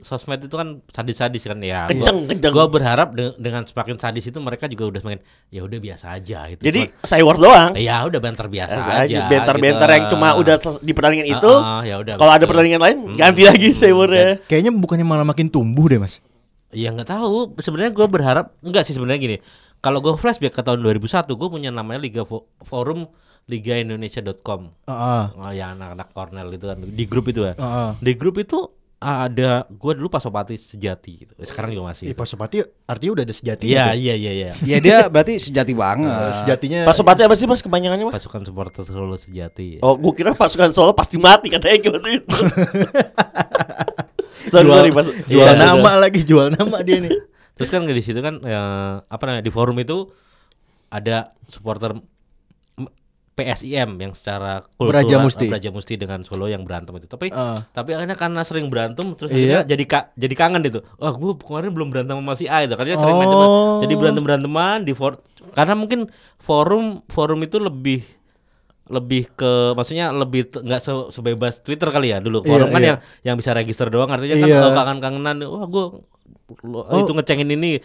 sosmed itu kan sadis-sadis kan ya. gua- Kenceng, kenceng. Gua berharap de- dengan semakin sadis itu mereka juga udah semakin ya udah biasa aja gitu. Jadi Cuma, saya war doang. ya udah banter biasa aja. aja benter-benter gitu. yang cuma udah ses- di pertandingan itu. Ah, ah, ya udah, Kalau ada betul. Hmm, pertandingan lain ganti lagi ya. sayurnya. Kayaknya bukannya malah makin tumbuh deh, Mas. Ya nggak tahu. Sebenarnya gue berharap enggak sih sebenarnya gini. Kalau gue flashback ke tahun 2001, gue punya namanya Liga Fo- Forum Liga Indonesia.com. Heeh. Oh, ya anak-anak Cornell itu kan di grup itu ya. Heeh. Di grup itu ada gue dulu pasopati sejati. gitu. Sekarang juga Iya, masih. gitu. Pak Sepati artinya udah ada sejati. gitu. Iya iya iya iya. Ya dia berarti sejati banget. Eh, Sejatinya Pas sepatu apa sih mas kepanjangannya mas? Pasukan supporter Solo sejati. Oh, gua kira pasukan Solo pasti mati katanya gimana itu. sorry, jual, sorry, pas, jual Iya, nama lagi, jual nama dia nih. Terus kan di situ kan ya, apa namanya di forum itu ada supporter m- PSIM yang secara kultural Beraja Musti. Beraja Musti dengan Solo yang berantem itu. Tapi Eh, tapi akhirnya karena sering berantem terus Iya. akhirnya jadi ka, jadi kangen deh tuh. Wah, gue kemarin belum berantem sama si A itu. Karena dia sering main teman. Oh. Jadi berantem-beranteman di for karena mungkin forum forum itu lebih lebih ke maksudnya lebih t- nggak se- sebebas Twitter kali ya dulu. Iya, Forum kan iya. yang yang bisa register doang Iya. artinya kan kalau kangen-kangenan wah gue itu ngecengin ini.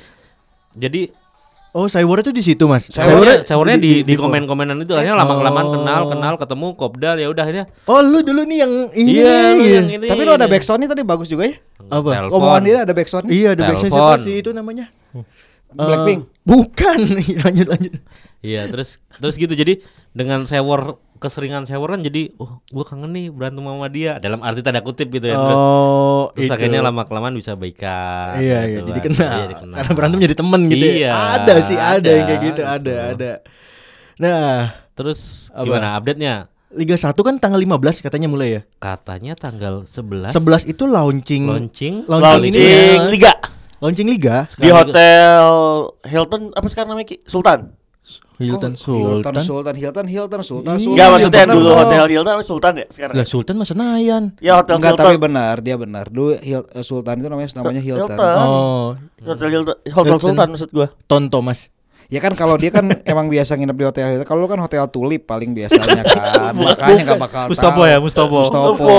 Jadi oh, cyber itu di situ, Mas. Cyber- Sewarnya, sewarnya di, di, komen-komenan itu akhirnya lama-kelamaan Oh. kenal, kenal, ketemu, kopdar ya udah akhirnya. Oh, lu dulu nih yang ini. Iya, lu nih. yang ini. ya, Tapi lo ada backsoundnya tadi bagus juga ya. Apa? Telpon. Omongan dia ada backsoundnya. Iya, the backsound siapa Telepon. sih itu namanya? Blackpink. Eh, bukan. lanjut, lanjut. Iya, terus terus gitu. Jadi dengan sewor keseringan sewor kan jadi oh, gua kangen nih berantem sama dia dalam arti tanda kutip gitu ya. Terus- Oh, terus itu. akhirnya lama-kelamaan bisa baikan. Iya, iya, gitu jadi kan. kenal. Iya, dikenal. Karena berantem jadi temen gitu. ya. Iya, Ada sih, ada, yang kayak gitu, ada, ada, gitu. ada. Nah, Terus Apa? gimana update-nya? Liga 1 kan tanggal 15 katanya mulai ya. Katanya tanggal 11 11 itu launching launching. Launching ini Launching ya. liga launching liga di hotel Hilton apa sekarang namanya Ki? Sultan. Hilton Oh, Sultan. Hilton Sultan Hilton Hilton Sultan Iya, Sultan. Sultan, Enggak maksudnya Bener, dulu bro. hotel Hilton apa Sultan ya sekarang? Lah Sultan mah Senayan. Ya hotel Enggak Hilton. tapi benar dia benar. Dulu Hil- eh, Sultan itu namanya namanya Hilton. Hilton. Oh, Hotel Hilton, Hotel Hilton. Sultan maksud gua. Tonto Mas. Ya kan kalau dia kan emang biasa nginep di hotel Hilton. Kalau lu kan hotel Tulip paling biasanya kan. Makanya nggak bakal tahu. Mustopo ya, Mustopo. Mustopo.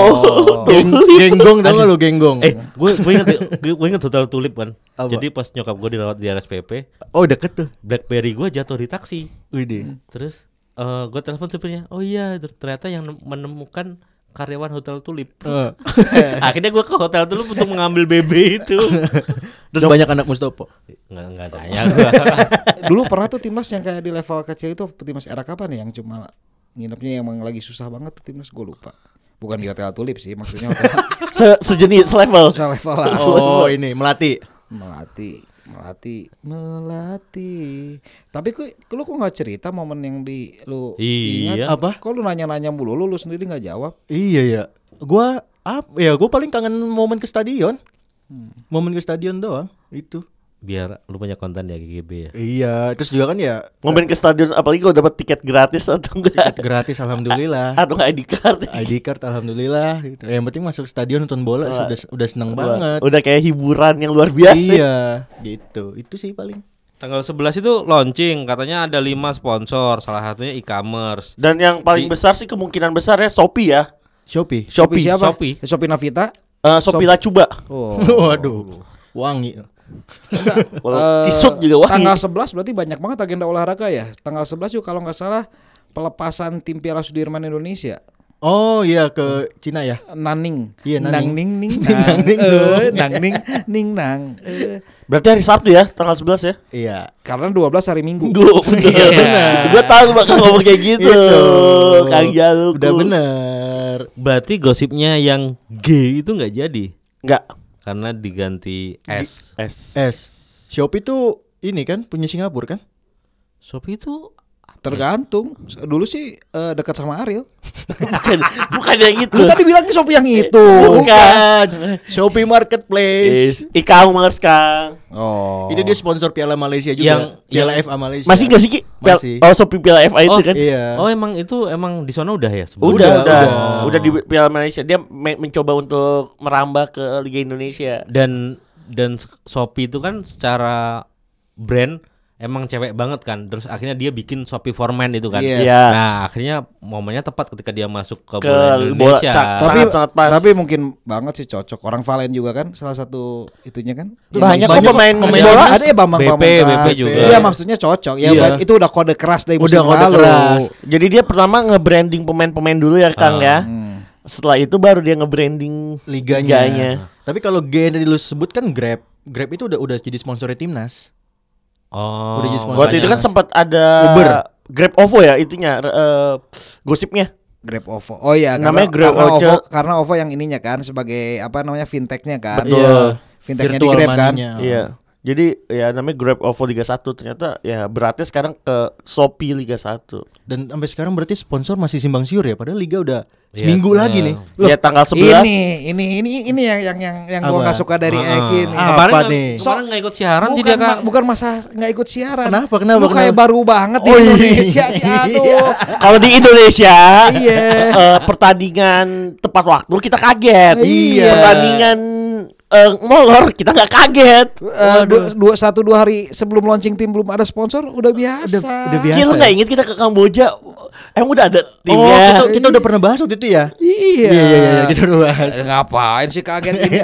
Geng- genggong tau gak lu genggong? Oh. Eh, gue gue inget gue inget hotel tulip kan. Iya. Apa? Jadi pas nyokap gue dirawat di RSPP, Oh deket tuh. BlackBerry gue jatuh di taksi. Widih. Terus eh gue telepon supirnya, oh iya ter- ternyata yang nem- menemukan karyawan hotel tulip. Eh, Akhirnya gue ke hotel tulip untuk mengambil BB itu. Terus banyak anak Mustopo. Nggak nggak tanya gue. Dulu pernah tuh timnas yang kayak di level kecil itu timnas era kapan ya yang cuma nginepnya yang emang lagi susah banget tuh timnas gue lupa. Bukan di hotel Tulip sih maksudnya hotel Se sejenis selevel. susah level lah. Oh ini melati. Melati, melati, melati. Tapi kok lu kok nggak cerita momen yang di lu Iya. ingat? Apa? Kok lu nanya-nanya mulu lu, lu sendiri nggak jawab? Iya ya. Gua apa? Ya gua paling kangen momen ke stadion. Hmm. Momen ke stadion doang itu. Biar lu punya konten ya GGB ya. Iya, terus juga kan ya Momen ke stadion apalagi kalau dapat tiket gratis atau enggak gratis Ah, alhamdulillah. atau nggak ID card. ya? ID card alhamdulillah gitu. Yang penting masuk stadion nonton bola sudah udah seneng Wah, banget. Udah kayak hiburan yang luar biasa. Iya, gitu. Itu sih paling. Tanggal 11 itu launching, katanya ada 5 sponsor, salah satunya e-commerce. Dan yang paling besar sih kemungkinan besar ya Shopee ya. Shopee. Shopee, siapa? Shopee. Shopee Navita. Eh, Shopee Lacuba. Oh. Waduh. Wangi. Walau Kisut juga wah. Eh, Tanggal 11 berarti banyak banget agenda olahraga ya. Tanggal 11 juga kalau nggak salah pelepasan tim Piala Sudirman Indonesia. Oh iya ke Cina ya. Naning. Iya, naning. Nang ning ning nang. Nang, ning, Eh, dong. nang ning ning nang. Eh. Berarti hari Sabtu ya, tanggal 11 ya. Iya. Karena 12 hari Minggu. Minggu. Gue Oh, tahu lu bakal ngomong kayak gitu. Kang Iya Jalu. Udah bener. Berarti gosipnya yang G itu nggak jadi Enggak. karena diganti S. S. S. Shopee tuh ini kan punya Singapura kan? Shopee itu Tergantung. Dulu sih eh, dekat sama Ariel. bukan, bukan yang itu. Lu tadi bilang Shopee yang itu. Bukan. Shopee Marketplace. Is. E-commerce Kang. Oh. Itu dia sponsor Piala Malaysia juga. Yang- Piala yang- FA Malaysia. Masih enggak sih Ki? Iya. Piala- Masih. Oh, Shopee Piala FA itu kan. Iya. Oh emang itu emang di sana udah ya? sebelumnya? Udah, Udah, udah, udah. udah. di Piala Malaysia. Dia me- mencoba untuk merambah ke Liga Indonesia. Dan dan Shopee itu kan secara brand emang cewek banget kan. Terus akhirnya dia bikin Shopee for men itu kan. Yes. Iya. Nah, akhirnya momennya tepat ketika dia masuk ke, Ke bola- bola Indonesia. cak- tapi sangat- sangat pas. tapi mungkin banget sih cocok orang Valen juga kan salah satu itunya kan Banyak kok pemain bola. ada ya Bambang BP, Pamungkas. BP juga. iya maksudnya cocok ya Iya. buat itu udah kode keras dari Udah musim kode lalu keras. Jadi dia pertama nge-branding pemain-pemain dulu ya Kang ya. Hmm. Setelah itu baru dia nge-branding liganya. liganya. Tapi kalau G yang tadi lu sebut kan Grab. Grab itu udah udah jadi sponsornya timnas. Oh. Udah jadi sponsor. Waktu itu kan sempat ada Uber. Grab OVO ya itunya re- eh, gosipnya. Grab OVO oh iya Namanya karena, Grab karena Ojo. OVO karena OVO yang ininya kan sebagai apa namanya fintechnya kan Betul. fintechnya di Virtual Grab kan money-nya. Iya. Jadi ya namanya Grab OVO Liga 1 ternyata ya beratnya sekarang ke Shopee Liga 1. Dan sampai sekarang berarti sponsor masih simbang siur ya, padahal liga udah Iya, seminggu iya. lagi nih. ya tanggal 11 Ini, ini, ini, ini yang yang yang yang gua Apa? nggak suka dari Heeh. Egi nih. Ah, Kemarin Apa nggak- nih? Kemarin nggak ikut siaran bukan, tidak kan? ma- bukan masa nggak ikut siaran. Kenapa, kenapa, Lu kayak kenapa? baru banget di Oh, iya. Indonesia sih. Aduh. Iya. Kalau di Indonesia Iya. eh, pertandingan tepat waktu kita kaget. Iya. Pertandingan eh, molor kita nggak kaget. Eh, dua, dua- satu dua hari sebelum launching tim belum ada sponsor udah biasa. Iya. Udah, udah biasa. Kira lu nggak ya? inget kita ke Kamboja? Emang udah ada Oh, kita, timnya? kita udah pernah bahas waktu itu ya? Iya. Iya, iya, iya, kita udah bahas. Eh, ngapain sih kaget ini?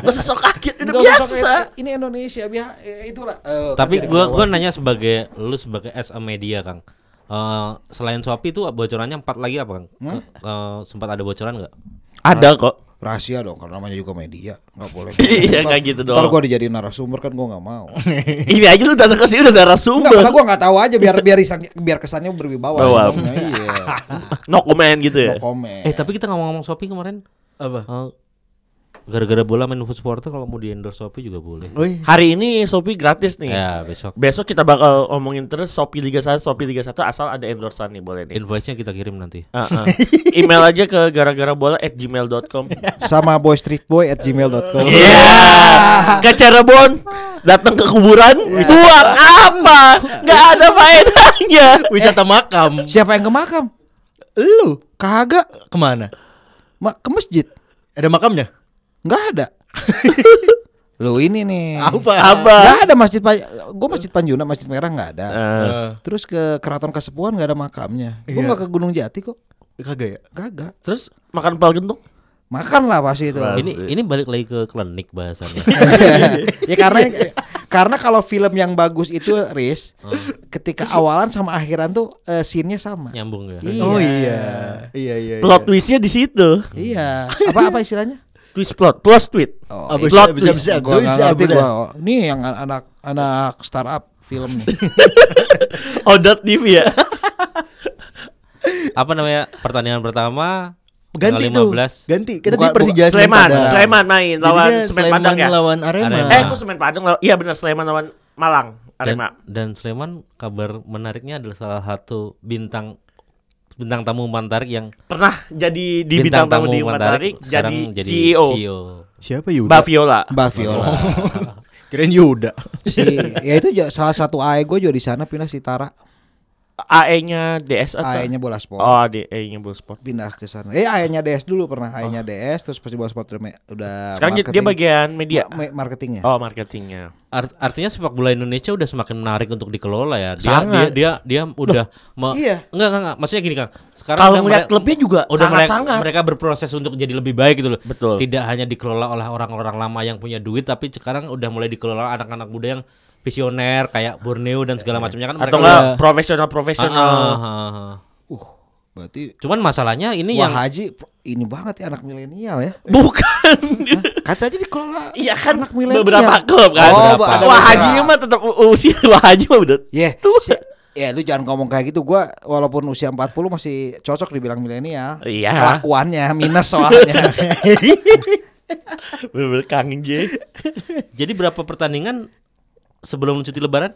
Gak usah sok kaget, udah Nggak usah biasa. kaget. Ini Indonesia biasa. Itulah. Eh, Tapi kerja gua bawah. gua nanya sebagai lu sebagai as a media, Kang. Eh, selain Shopee itu bocorannya empat lagi apa, Kang? Ke- eh, sempat ada bocoran nggak? Ada kok. rahasia dong karena namanya juga media nggak boleh Iya, Ntar- kayak gitu ntar dong. gua dijadiin narasumber kan gua nggak mau Ini aja lu datang ke sini udah nggak narasumber. malah gua nggak tahu aja biar biar isang- biar kesannya berwibawa Bawa. Ngomongnya, iya No comment gitu ya. no comment Eh, tapi kita ngomong-ngomong Shopee kemarin Apa? eh, gara-gara bola main food supporter kalau mau di endorse Shopee juga boleh. Oh, Woi, Hari ini Shopee gratis nih. Ya, besok Besok kita bakal omongin terus Shopee Liga 1, Shopee Liga 1 asal ada endorsean nih boleh nih. invoice-nya kita kirim nanti. Heeh. Email aja ke gara-gara bola at gmail.com sama boystreetboy at gmail.com Iya Ke Cirebon Datang ke kuburan Iya. Buat apa Gak ada faedahnya wisata makam. siapa yang ke makam Lu kagak kemana? Ma- ke masjid Ada makamnya? nggak ada lu ini nih Apa nggak ada masjid pa- gua masjid Panjuna masjid merah nggak ada Eh, terus ke keraton Kasepuhan nggak ada makamnya gua Iya. nggak ke Gunung Jati kok Kagak ya? kagak Terus makan pal gentung makan lah pasti itu Pasti. Ini ini balik lagi ke klinik bahasannya. ya karena karena kalau film yang bagus itu Riz ketika awalan sama akhiran tuh eh, scene-nya sama. Nyambung ya. Iya. Oh iya. Iya, iya. iya. Plot twistnya di situ Iya. Apa apa istilahnya? Twist plot Plot twist Oh, Abis, plot abis, twist. abis, gua abis, nggak ngerti abis. gua. Oh, Nih yang an- anak anak startup film nih. Odot TV ya Apa namanya? Pertandingan pertama Ganti tanggal tuh. 15. Ganti. Kita Bukan- di Persija Sleman Padang. Sleman main Lawan Jadinya Semen Padang ya lawan Arema. Arema. Eh kok Semen Padang lawan- Iya benar Sleman lawan Malang Dan, Arema dan Sleman kabar menariknya adalah salah satu bintang bintang tamu umpan tarik yang Pernah jadi di bintang, tamu di umpan Matarik sekarang E Jadi, E CEO, CEO. Siapa Yuda? Mbak Viola Mbak Viola. Kirain Yuda. Si ya itu ja- salah satu AE gue juga di sana pindah si Tara. AE-nya DS atau AE-nya bola sport. Oh, AE-nya Bull Sport. Pindah ke sana. Eh AE-nya DS dulu pernah AE-nya DS terus pasti bola sport udah me- udah Sekarang dia- dia marketing- bagian media. ma- marketingnya. Oh, marketingnya. Art- artinya sepak bola Indonesia udah semakin menarik untuk dikelola ya. Dia Sangat. dia dia, dia udah me- iya. enggak, enggak enggak. maksudnya gini Kang. Sekarang Kalau udah ngeliat mere- klubnya juga udah mereka, sangat-sangat. mereka berproses untuk jadi lebih baik gitu loh. Betul. Tidak hanya dikelola oleh orang-orang lama yang punya duit tapi sekarang udah mulai dikelola anak-anak muda yang visioner kayak Borneo dan segala macamnya kan Atau mereka enggak profesional-profesional. Ah, ah, ah. Uh, berarti Cuman masalahnya ini Wah yang Haji ini banget ya anak milenial ya. Bukan. Kata aja dikelola. Iya kan anak milenial. beberapa klub kan. Oh, Beberapa. ada beberapa. Wah, Iya. Haji mah tetap u- usia Wah Haji mah udah. Yeh, si- Ya lu jangan ngomong kayak gitu Gua walaupun usia 40 masih cocok dibilang milenial Iya. Kelakuannya minus soalnya Bener-bener kangen J. jadi berapa pertandingan sebelum cuti lebaran?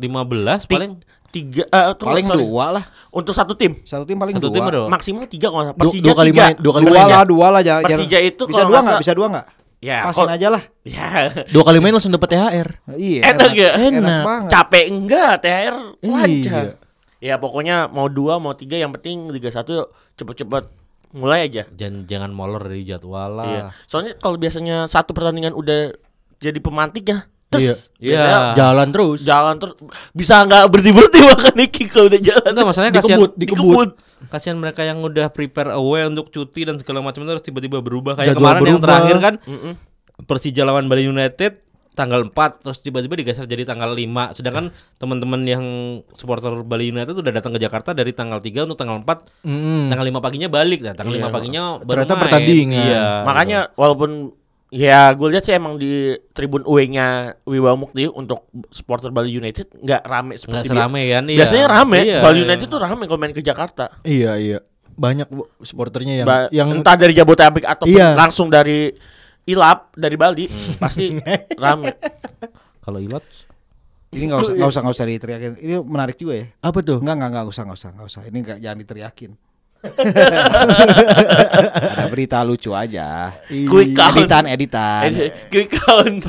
15 paling Tiga eh, tuh, Paling sorry. dua lah Untuk satu tim. Satu tim paling Satu dua tim ada berapa? Maksimal tiga kalau nggak salah. Du- Persija dua kali tiga. main, dua kali Dua main. lah, dua lah jangan, Persija jangan. itu Bisa kalau dua nggak nggak? salah- Bisa dua nggak? Ya, Pasin kalau- aja lah Ya. Dua kali main langsung dapat THR. Iya Enak ya? Enak. Enak banget Capek enggak THR Iya. lancar. Ya pokoknya mau dua mau tiga yang penting Liga 1 cepet-cepet mulai aja. jangan jangan molor dari jadwal lah. Iya. Soalnya kalau biasanya satu pertandingan udah jadi pemantik ya, terus Iya. biasanya Ah. Jalan terus. jalan terus bisa nggak berhenti berhenti makan Niki kalau udah jalan. Enggak masalahnya kasihan Dikebut, dikebut. kasihan mereka yang udah prepare away untuk cuti dan segala macam terus tiba-tiba berubah kayak Jadwal kemarin yang berubah. terakhir kan Mm-mm. Persija lawan Bali United tanggal 4 terus tiba-tiba digeser jadi tanggal 5 sedangkan teman-teman yang supporter Bali United udah datang ke Jakarta dari tanggal 3 untuk tanggal 4 Mm-mm. tanggal 5 paginya balik nah tanggal Iya. 5 paginya baru Hmm. Ternyata main. pertandingan. Iya. Ah, Makanya walaupun ya gue lihat sih emang di tribun UE-nya Wiwa Mukti untuk supporter Bali United nggak rame nggak seperti bi- serame kan iya. Biasanya rame. Iya. Bali United tuh rame kalau main ke Jakarta. Iya, iya. Banyak bu, supporternya yang Ba- yang entah dari Jabodetabek atau Iya. langsung dari Ilap dari Bali pasti rame. Kalau Ilot Ini nggak usah nggak usah nggak usah diteriakin. Ini menarik juga ya. Apa tuh? Enggak enggak enggak usah enggak usah enggak usah. Ini enggak jangan diteriakin. Ada berita lucu aja. Quick count. Editan editan. Eh, Quick count.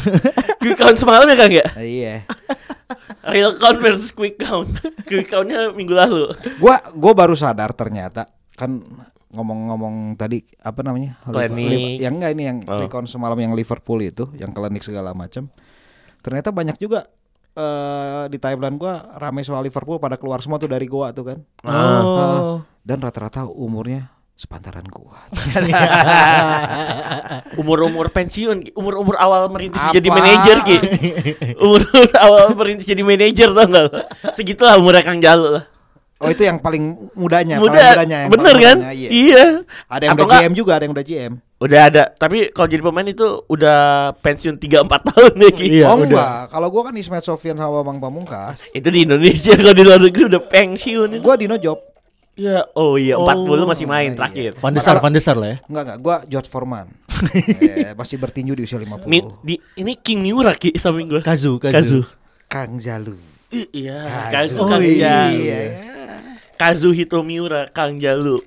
Quick count semalam ya Kang ya? Eh, Iya. Real count versus quick count. Quick countnya minggu lalu. Gua gua baru sadar ternyata kan ngomong-ngomong tadi apa namanya? Liver- Klinik. liver- yang enggak ini yang Oh. recon semalam yang Liverpool itu, yang klinik segala macam. Ternyata banyak juga eh di timeline gua rame soal Liverpool pada keluar semua tuh dari goa tuh kan. Oh. Ah, dan rata-rata umurnya sepantaran gua. Umur-umur pensiun, Ki. umur-umur awal merintis jadi Apa? manajer Ki. Umur awal merintis jadi manajer tau gak lo? Segitulah umur Kang Jalu lah. Oh itu yang paling mudanya, paling Muda, mudanya Ya, yang bener paling kan? mudanya, iya. Iya. Ada yang Atau udah nggak- GM juga, ada yang udah GM. Udah ada, tapi kalau jadi pemain itu udah pensiun 3 4 tahun ya Ki. Iya, oh udah. enggak, kalau gua kan Ismet Sofian sama Bang Pamungkas, Itu di Indonesia kalau di luar negeri udah pensiun itu. gua Dino Job. Ya, oh iya Oh. 40 masih main iya. terakhir. Van de Sar, Van de Sar lah ya. Enggak enggak, gua George Foreman. eh, masih bertinju di usia 50. Mi- di, ini King Miura Ki samping gua. Kazu, Kazu. Kang Jalu. I- Iya, Kazu. Kazu Oh, Kang Jalu. Iya. Kazuhito Miura, Kang Jalu.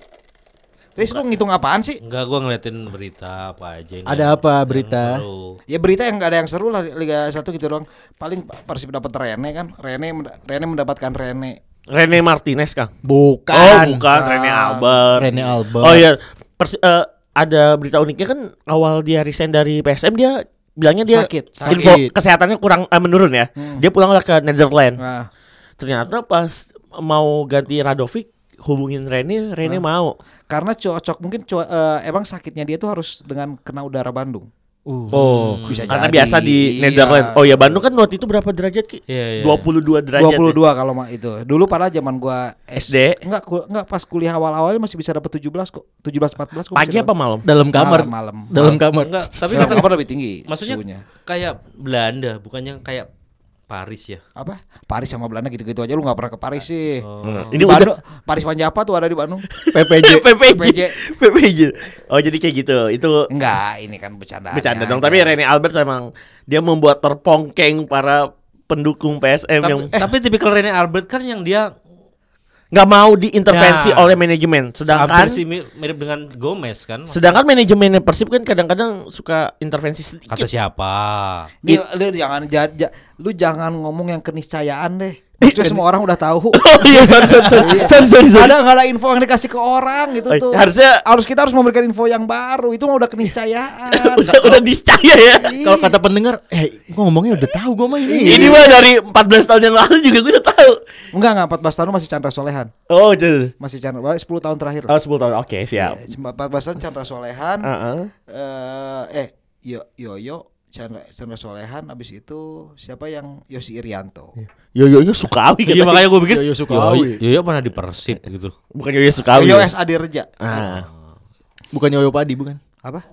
Terus lu ngitung apaan sih? Enggak gua ngeliatin berita apa aja yang- Ada apa yang berita? seru. Ya berita yang gak ada yang seru lah Liga 1 gitu doang. Paling Persib dapat Rene kan. Rene menda- Rene mendapatkan Rene. Rene Martinez Kang. Bukan. Oh, bukan Rene Albert. Rene Albert. Oh iya, Persi- eh, ada berita uniknya kan awal dia resign dari PSM dia bilangnya dia Sakit, info sakit. kesehatannya kurang eh, menurun ya. Dia pulanglah ke Netherlands. Nah, Ternyata pas mau ganti Radovic hubungin Rene, Rene mau. karena cocok mungkin co- eh, emang sakitnya dia tuh harus dengan kena udara Bandung. Uh. Oh, Bisa karena jadi, biasa di iya. Netherlands. Oh ya, Bandung kan waktu itu berapa derajat Ki? Iya, iya. 22 derajat. ya. 22 kalau mah itu. Dulu pada zaman gua SD. Enggak, ku- enggak pas kuliah awal-awalnya masih bisa dapat 17 kok. 17 14 kok. Pagi masih apa dapat. malam? Dalam kamar. Malam, malam. Dalam kamar. Enggak, tapi kan Dalam kata- kamar lebih tinggi. maksudnya suhunya. kayak Belanda, bukannya kayak Paris ya? apa? Paris sama Belanda gitu-gitu aja lu nggak pernah ke Paris sih. Ini Ini udah Bandung, Paris Panjapa tuh ada di Bandung. PPJ. PPJ. PPJ. Oh, jadi kayak gitu. Itu Enggak, ini kan bercanda. bercanda dong tapi Rene Albert emang dia membuat terpongkeng para pendukung PSM Tapi, yang tapi eh. tipikal Rene Albert kan yang dia nggak mau diintervensi Ya. oleh manajemen sedangkan hampir sih mi- mirip dengan Gomez kan? sedangkan manajemennya Persib kan kadang-kadang suka intervensi sedikit Kata siapa? Ini, lu jangan ja- ja- lu jangan ngomong yang keniscayaan Eh, deh. Maksudnya semua orang udah tahu. oh iya sorry sorry sorry sorry, sorry, sorry. Ada nggak ada info yang dikasih ke orang gitu Eh, tuh. harusnya- harus kita harus memberikan info yang baru. Itu mah udah keniscayaan. udah, udah dicaya ya Kalau kata pendengar, eh gua ngomongnya udah tahu gua mah ini. ini mah dari 14 tahun yang lalu juga gue udah tahu Enggak enggak 14 tahun masih Chandra Solehan. oh jadi Masih Chandra 10 tahun terakhir. oh 10 tahun oke siap Ah. Eh, 14 tahun Chandra Solehan. Heeh. Eh, eh Yo Yoyo Chandra, Chandra Solehan abis itu siapa yang Yosi Irianto. yo yo yo Sukawi Iya katanya. makanya gue pikir Yoyo Yoyo Sukawi. iya. Yoyo pernah di Iya, Persib gitu. bukan yo yo Sukawi Yoyo S Adi Reja. ah Bukan Yoyo Padi, bukan. Apa?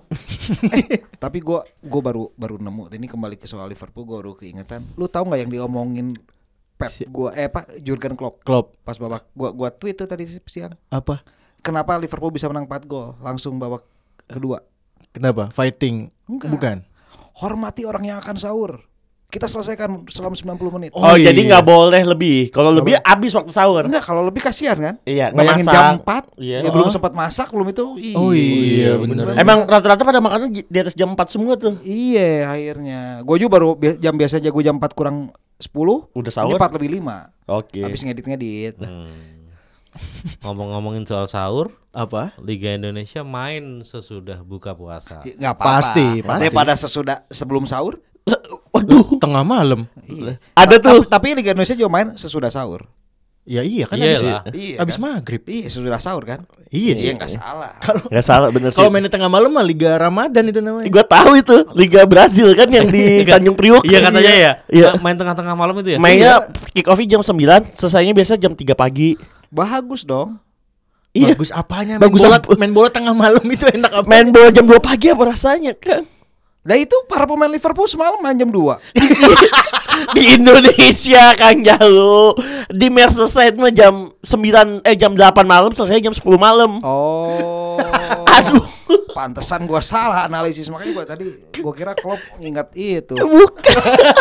Eh, tapi gua gua baru baru nemu ini kembali ke soal Liverpool gua baru keingetan. Lu tahu nggak yang diomongin Pep gua eh Pak Jurgen Klopp Klopp. pas babak gua gua tweet tuh tadi siang. Apa? Kenapa Liverpool bisa menang 4 gol langsung babak kedua? Kenapa? Fighting. Enggak. Bukan. Hormati orang yang akan sahur. Kita selesaikan selama 90 menit. Oh, Oh, jadi iya. nggak boleh lebih. Kalau lebih habis waktu sahur. Enggak, kalau lebih kasihan kan? Iya, Bayangin ngemasak. jam 4, Iya. ya belum sempat masak, belum itu. Iya, Oh iya, bener. Emang rata-rata pada makannya j- di atas jam 4 semua tuh. Iya, akhirnya. Gue juga baru bi- jam biasa aja gue jam 4 kurang 10. Udah sahur? 4 lebih 5. Oke. Habis ngedit-ngedit. Ngomong-ngomongin soal sahur, Apa? Liga Indonesia main sesudah buka puasa. Ya, nggak apa-apa. Pasti, pasti. Daripada sesudah sebelum sahur. Waduh. Tengah malam. Iya. Ada Ta- tuh. Tapi, tapi Liga Indonesia juga main sesudah sahur. Ya iya kan Iya abis, lah. Iya abis kan? maghrib. Iya, sesudah sahur kan? Iya sih. Iya, nggak salah. Enggak salah bener sih. Kalau mainnya tengah malam mah Liga Ramadan itu namanya. Gue tahu itu Liga Brazil kan yang di Tanjung Priok. Iya katanya ya. Oh, Iya. Ma- Main tengah-tengah malam itu ya. Mainnya kick off Iya. jam 9, selesainya biasa jam 3 pagi. Bagus dong. Iya. Bagus apanya? Bagus main bola, apa? main bola tengah malam itu enak apa? Main bola jam 2 pagi apa rasanya kan? Nah itu para pemain Liverpool semalam main jam 2 Di Indonesia Kang Jalu Di Merseyside mah jam 9 eh jam 8 malam selesai jam 10 malam. Oh. Aduh. Pantesan Oh, gua salah analisis makanya gua tadi gua kira Klopp ngingat itu. Bukan.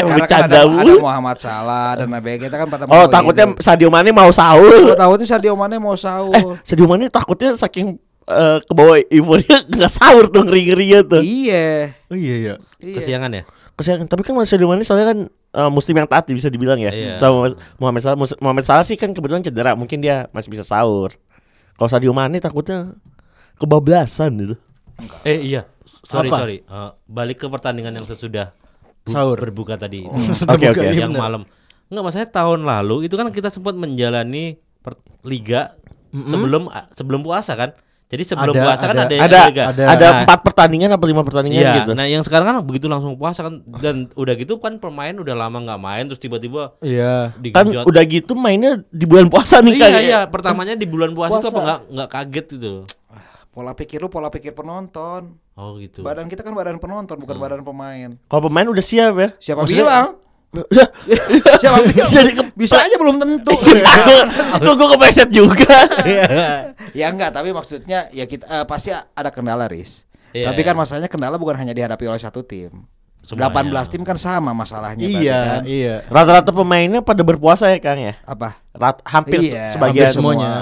Emang Karena kan bercanda, ada, Wu. ada Muhammad Salah dan Nabi kita kan pada Oh mau takutnya itu. Sadio Mane mau Gua sahur. takutnya Sadio Mane mau Eh sahur. Sadio Mane takutnya saking eh, ke bawah euforia nggak sahur tuh ngeri ngerinya tuh. Iya. Oh iya iya. Iya. Kesiangan ya? Kesian. Tapi kan Sadio Mane soalnya kan eh, muslim yang taat bisa dibilang ya. Iya. Sama Muhammad Salah. Mus- Muhammad Salah sih kan kebetulan cedera, mungkin dia masih bisa sahur. Kalau Sadio Mane takutnya kebablasan gitu. Eh iya. Sorry Apa? sorry. Eh, balik ke pertandingan yang sesudah bu- Sahur. berbuka tadi. itu. Oke, oke. Iya, yang benar. malam. Enggak maksudnya tahun lalu itu kan kita sempat menjalani per- liga sebelum sebelum puasa kan. Jadi sebelum Ada, puasa kan ada. ada yang Ada liga. ada, Nah, empat pertandingan apa lima pertandingan Iya, gitu. nah yang sekarang kan begitu langsung puasa kan dan udah gitu kan pemain udah lama nggak main terus tiba-tiba Iya. kan digenjot. udah gitu mainnya di bulan puasa nih iya kayaknya. iya pertamanya di bulan puasa, Puasa. itu apa nggak nggak kaget gitu loh. Pola pikir lu pola pikir penonton. Oh gitu. Badan kita kan badan penonton bukan badan pemain. Kalau pemain udah siap ya. Siapa Maksudnya- bilang? Udah. Siapa bilang? Jadi ke iya. Bisa aja belum tentu. Kok gue kepeset juga ya enggak, tapi maksudnya ya kita eh, pasti ada kendala, Riz. Iya, tapi kan iya. masalahnya kendala bukan hanya dihadapi oleh satu tim. Semuanya. 18 tim kan sama masalahnya berarti Iya, kan. iya. Rata-rata pemainnya pada berpuasa ya Kang ya Apa? Rat- Hampir se- Iya, sebagian hampir semua. semuanya.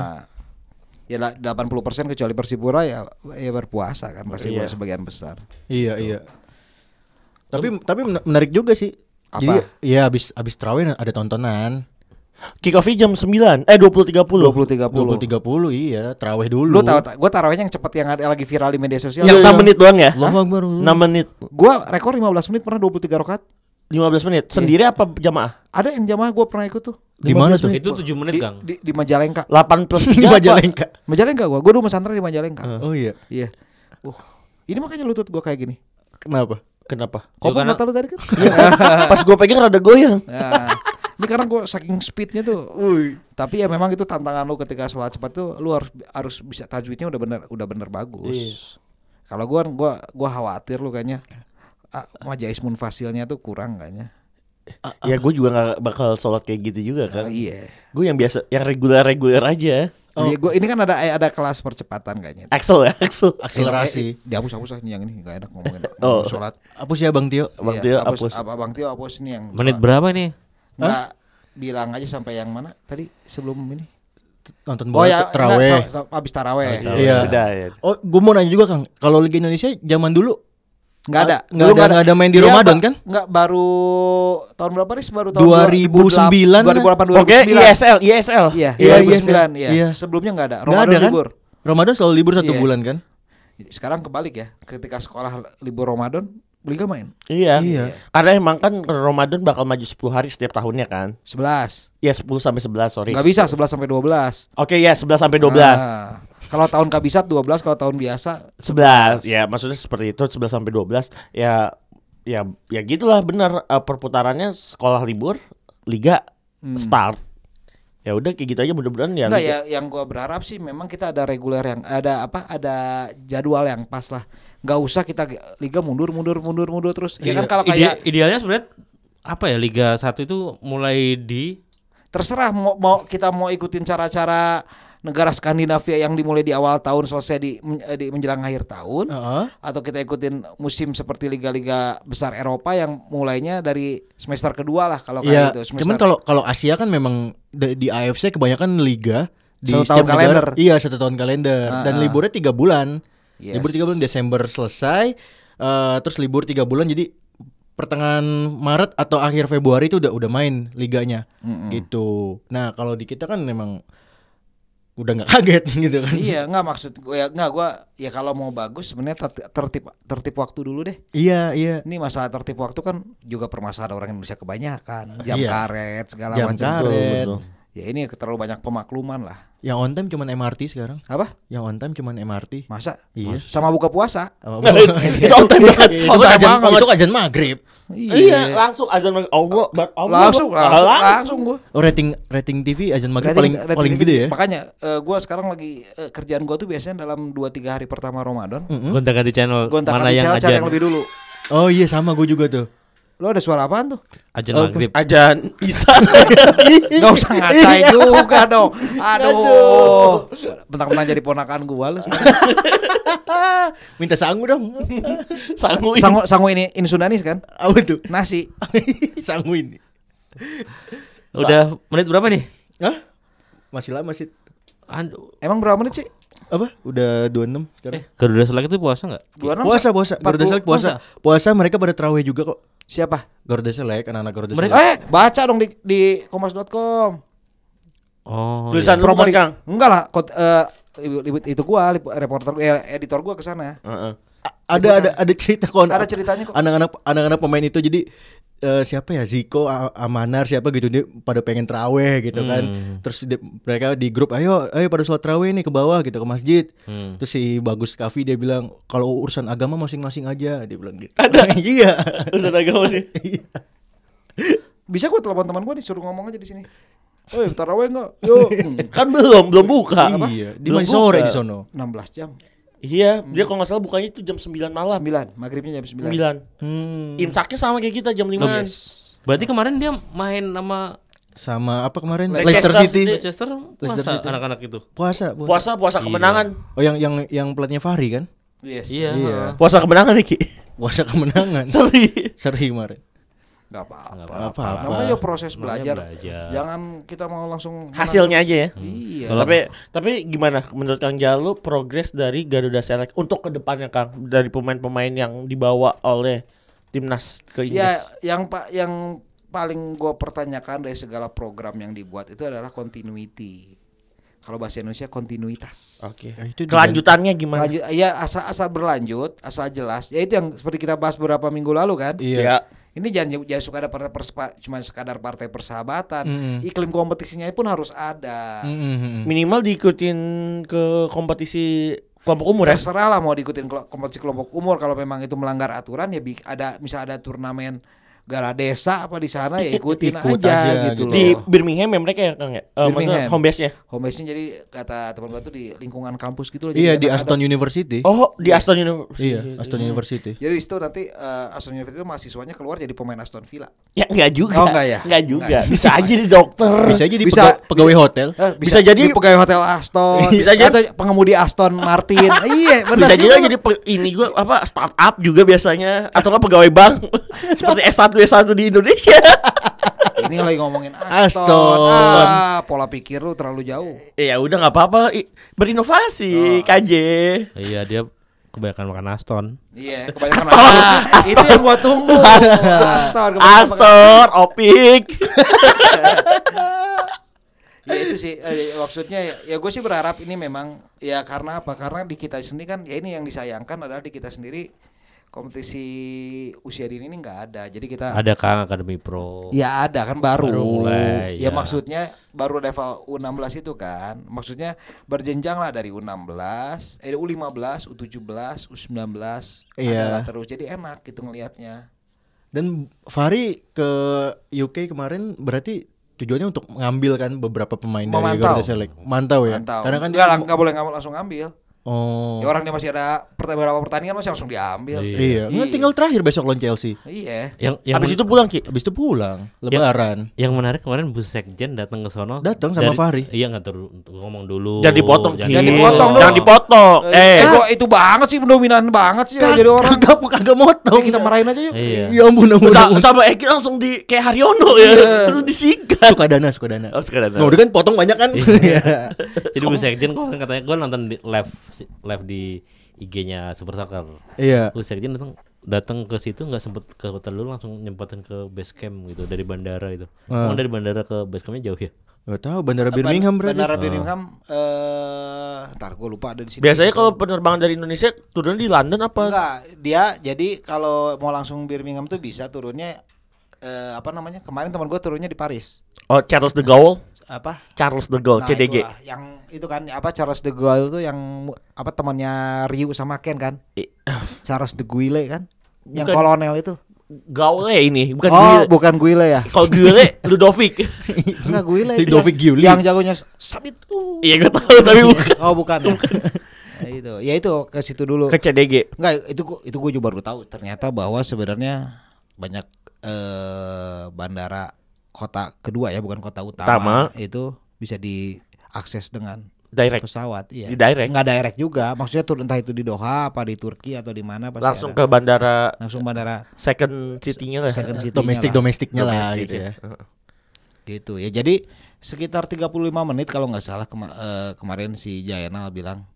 Ya la- 80% kecuali Persipura ya ya berpuasa kan Persipura Iya. sebagian besar. Iya iya. Tapi tapi mena- menarik juga sih. Apa? Jadi ya abis abis terawih ada tontonan. Kick off jam 9 Eh 20 20.30 30. 20 30 iya, terawih dulu. Lu tahu gua taruhnya yang cepet yang ada- yang lagi viral di media sosial. Iya, Yang 6 iya. menit doang ya Allahu Akbar. 6 menit Gua rekor 15 menit pernah 23 rakaat. 15 menit Sendiri apa jamaah? Ada yang jamaah gua pernah ikut tuh. Di mana tuh? itu 7 Di, menit, Kang. di, di Majalengka. 8 plus 3 Di Majalengka. Majalengka gua. Gua dulu pesantren di Majalengka. Oh iya. Iya. Uh. Ini makanya lutut gua kayak gini. Kenapa? Kenapa? Kopak karena- mata lu tadi kan? Iya. Pas gue pegang rada goyang Nah, ini karena gue saking speednya tuh. Tapi ya memang itu tantangan lu ketika sholat cepat tuh, lu harus harus bisa tajwidnya udah bener udah bener bagus. Iya. Kalau gue gua gua khawatir lu kayaknya ah, majais munfasilnya tuh kurang kayaknya. Ya gue juga gak bakal sholat kayak gitu Ah, juga kan iya. Gue yang biasa Yang reguler-reguler aja Oh. Iya, gua, ini kan ada ada kelas percepatan kayaknya. Axel ya Axel Eh, eh, Akselerasi. dihapus hapus ah, ini yang ini nggak enak ngomongin Oh. ngomongin sholat. Hapus ya Bang Tio. Bang Iya, Tio hapus. Apa, Bang Tio hapus ini yang Menit berapa nih? Nggak, bilang aja sampai yang mana tadi sebelum ini. Nonton bola Oh, ya, enggak, terawih. sa- sa- abis taraweh. Iya. Udah ya Oh, gue mau nanya juga Kang, kalau Liga Indonesia zaman dulu Enggak ada. Nggak Lu ada- nggak ada main di Iya, Ramadan, ba- kan? Nggak baru tahun berapa Riz? Baru tahun 2009 2008 2009. Oke ISL ISL Iya, kan? Iya, 2009 iya. iya. Iya. Sebelumnya nggak ada. Nggak Ramadan ada kan? libur. Ramadan selalu libur satu Iya. bulan kan? Sekarang kebalik ya. Ketika sekolah libur Ramadan, Liga main Iya. Iya. Karena emang kan Ramadan bakal maju 10 hari setiap tahunnya kan. 11. Ya 10 sampai 11 sorry. Nggak bisa 11 sampai 12. Oke ya 11 sampai 12. Ah. Kalau tahun kabisat 12, kalau tahun biasa 11. Ya maksudnya seperti itu 11 sampai 12 ya ya ya gitulah benar Eh, perputarannya sekolah libur, liga start. Ya udah kayak gitu aja mudah-mudahan ya. Enggak liga. ya, yang gua berharap sih memang kita ada reguler yang ada apa ada jadwal yang pas lah. Nggak usah kita ge- liga mundur mundur mundur mundur terus. Ya Iya. kan kalau Ide- kayak idealnya sebenarnya apa ya Liga 1 itu mulai di terserah mau, mau kita mau ikutin cara-cara negara Skandinavia yang dimulai di awal tahun selesai di, men- eh, di menjelang akhir tahun Heeh. atau kita ikutin musim seperti liga-liga besar Eropa yang mulainya dari semester kedua lah kalau Iya. kayak gitu semester Cuman kalau kalau Asia kan memang da- di, AFC kebanyakan liga di Satu setiap tahun negara- kalender. Iya, satu tahun kalender dan Ah, ah. liburnya tiga bulan. Yes. Libur tiga bulan Desember selesai, eh, terus libur tiga bulan jadi pertengahan Maret atau akhir Februari itu udah udah main liganya Mm-mm. Hmm. gitu. Nah kalau di kita kan memang udah nggak kaget gitu kan? iya nggak maksud gue ya nggak gue ya kalau mau bagus sebenarnya ter- tertib tertib waktu dulu deh iya iya. ini masalah tertib waktu kan juga permasalahan orang Indonesia kebanyakan jam Iya. karet segala Jam macam karet. Betul, Karen. betul. ya ini terlalu banyak pemakluman lah Yang on time cuman MRT sekarang. apa Yang on time cuman MRT. masa Iya. sama buka puasa Sama- Itu on time banget. Itu On time ajan, banget. itu ajan maghrib. Iya, langsung azan Allah, bar- Allah langsung bar- langsung langsung gue Oh, rating rating TV ajan maghrib paling paling gede ya. makanya gue sekarang lagi eh, kerjaan gue tuh biasanya dalam 2-3 hari pertama Ramadan gonta-ganti channel gonta mana ganti yang channel aja yang lebih dulu Oh iya sama gue juga tuh. Lo ada suara apaan tuh? Ajan maghrib. Ajan Isa. Gak usah Iya. ngatain juga dong. Iya. Aduh. Bentar-bentar jadi ponakan gua lu. Minta sangu dong. Sangu. Sangu, sangu ini insunanis kan? Apa tuh? Nasi. sangu ini. Udah menit berapa nih? Hah? Masih lama sih. Aduh. Emang berapa menit sih? Apa? Udah 26 sekarang. Eh, Garuda Select itu puasa nggak? Dua enam, Puasa, Sa? puasa. Empat Garuda puluh. Select puasa. Puasa mereka pada terawih juga kok. Siapa? Garuda Select, anak-anak Garuda Mereka- Select. Eh, baca dong di, di kompas.com. Oh. Tulisan iya. lu Promo bukan di, Kang. enggak lah, kot, eh, ibu- ibu- itu gua, lip- reporter gua, eh, editor gua ke sana. Heeh. Eh, Ada ada ada cerita kok. Ada ceritanya kok. Anak-anak anak-anak pemain itu jadi eh, siapa ya Ziko, A- Amanar siapa gitu dia pada pengen terawih gitu kan. Terus di- mereka di grup ayo ayo pada sholat terawih nih ke bawah gitu ke masjid. Hmm. Terus si Bagus Kavi dia bilang kalau urusan agama masing-masing aja dia bilang gitu. iya. Urusan agama sih. Bisa gua telepon teman gua disuruh ngomong aja di sini. Eh, taraweh enggak? Yuk. Hmm, Kan belum, belum buka. iya, di Belum masih sore buka. di sono. 16 jam. Iya, dia kalau nggak salah bukanya itu jam 9 malam. 9, maghribnya jam 9. 9. Hmm. Imsaknya sama kayak kita jam 5. Berarti kemarin dia main sama Sama apa kemarin? Leicester, Leicester City. Manchester puasa City. anak-anak itu. Puasa, puasa. Puasa, puasa kemenangan. Oh yang yang yang platnya Fahri kan? Yes. Iya. Puasa kemenangan nih, Ki. Puasa kemenangan. Sorry. Seri kemarin. Enggak apa-apa. Apa-apa. Namanya proses Namanya belajar. belajar. Jangan kita mau langsung menang. Hasilnya aja ya. Iya. Tapi tapi gimana menurut Kang Jalu progres dari Garuda Select untuk kedepannya Kang dari pemain-pemain yang dibawa oleh timnas ke Ya, Inggris? yang pak yang paling gue pertanyakan dari segala program yang dibuat itu adalah continuity. Kalau bahasa Indonesia kontinuitas. Oke. Ya, itu Kelanjutannya gimana? Lanjut, ya asal asal berlanjut, asal jelas. Ya itu yang seperti kita bahas beberapa minggu lalu kan. Iya. Ini jangan jangan suka ada partai perspa- cuma sekadar partai persahabatan. Mm-mm. Iklim kompetisinya pun harus ada. Hmm, Mm-mm. Minimal diikutin ke kompetisi kelompok umur ya. Terserah lah mau diikutin kelo- kompetisi kelompok umur kalau memang itu melanggar aturan ya bi- ada misal ada turnamen gala desa apa di sana ya ikutin Ikut aja, aja gitu. gitu, loh. Di Birmingham ya mereka ya Kang ya. Eh, maksudnya Birmingham. home base-nya. homebase-nya jadi kata teman gua tuh di lingkungan kampus gitu loh. Iya di jadi ada- Aston ada- University. Oh, di Aston University. iya, Aston University. Jadi di situ nanti eh, Aston University itu mahasiswanya keluar jadi pemain Aston Villa. Ya enggak juga. Oh, nggak ya? Nggak juga. Nggak. Bisa aja di dokter. Bisa jadi Bisa- pega- pegawai hotel. Eh, Bisa jadi- di pegawai hotel Aston, Bisa jadi- atau pengemudi Aston Martin. iya, benar. Bisa juga juga jadi pe- ini gua apa startup juga biasanya atau nggak pegawai bank seperti S1 S1 di Indonesia. ini lagi ngomongin Aston. Aston. Ah, pola pikir lu terlalu jauh. ya udah nggak apa-apa I- Oh. berinovasi KJ. Iya, dia kebanyakan makan Aston. Iya, kebanyakan Aston, Nah, Aston. Itu yang gua tunggu. Aston. kebanyakan- Astor, Opik. Ya itu sih eh, maksudnya ya- ya gue sih berharap ini memang ya karena apa? Karena di kita sendiri kan ya ini yang disayangkan adalah di kita sendiri kompetisi usia dini ini nggak ada. Jadi kita Ada Kang Academy Pro. ya ada kan baru. Baru mulai, ya, ya. maksudnya baru level U16 itu kan. Maksudnya berjenjang lah dari U16, eh U15, U17, U19 Iya. adalah terus. Jadi enak gitu ngelihatnya. Dan Fahri ke UK kemarin berarti tujuannya untuk mengambil kan beberapa pemain dari Memantau. Garuda Select. Mantau ya. Mantau. Karena kan nggak lang- nggak boleh nggak langsung ambil. Oh. Ya orang dia masih ada perta- beberapa pertandingan masih langsung diambil. Iya, Nggak, tinggal terakhir besok lawan Chelsea. Iya. Yang yang Habis itu pulang Oh, Ki. Habis itu pulang lebaran. yang menarik kemarin Bu Sekjen datang ke sono. Datang sama Dari- Fahri. Iya, enggak ngomong dulu. Jangan dipotong Ki. Jangan dipotong dong. Jangan dipotong. Eh, Eh, gua itu banget sih dominan banget sih Kag- jadi orang. kagak kagak motong. Yuk, kita marahin aja yuk. Iya. Ya ampun ampun. sa- ampun. sama Eki langsung di kayak Haryono ya. Iya. Langsung disikat. Suka dana, suka dana. Oh, suka dana. Nah, udah kan potong banyak kan. Iya. Jadi Bu Sekjen kemarin katanya gua nonton di live live di IG-nya Super Soccer. Iya. Bu Sekjen datang datang ke situ nggak sempet ke hotel dulu langsung nyempetin ke base camp gitu dari bandara itu. Ah. Emang dari bandara ke base campnya jauh ya? Gak tahu bandara Birmingham berarti. Ah. Bandara Birmingham eh ntar gua lupa ada di sini. Biasanya kalau penerbangan dari Indonesia turun di London apa? enggak dia jadi kalau mau langsung Birmingham tuh bisa turunnya eh apa namanya? Kemarin teman gua turunnya di Paris. Oh, Charles de Gaulle. Apa? Charles de Gaulle, Nah, CDG. itulah. yang itu kan apa Charles de Gaulle tuh yang apa temannya Ryu sama Ken kan? I- Charles de Gaulle kan? Yang Bukan. kolonel itu. Gaule ya ini, bukan oh, Guile. bukan Guile ya? Kalau Guile Ludovic. Enggak Guile. Ludovic Giuli. Yang jagonya sabit. Uh. Iya gue tahu tapi bukan. Oh bukan. ya. Nah, itu. Ya itu ke situ dulu. Ke CDG. Enggak, itu gua, itu gue juga baru tahu ternyata bahwa sebenarnya banyak eh, eh, bandara kota kedua ya bukan kota utama, Utama. itu bisa diakses dengan direct pesawat iya di direct nggak direct juga maksudnya tur entah itu di Doha apa di Turki atau di mana pasti langsung ada. ke bandara langsung bandara second city-nya lah. second city domestik domestiknya lah Domestik gitu ya. Heeh. gitu ya jadi sekitar 35 menit kalau nggak salah kema- eh, kemarin si Jainal bilang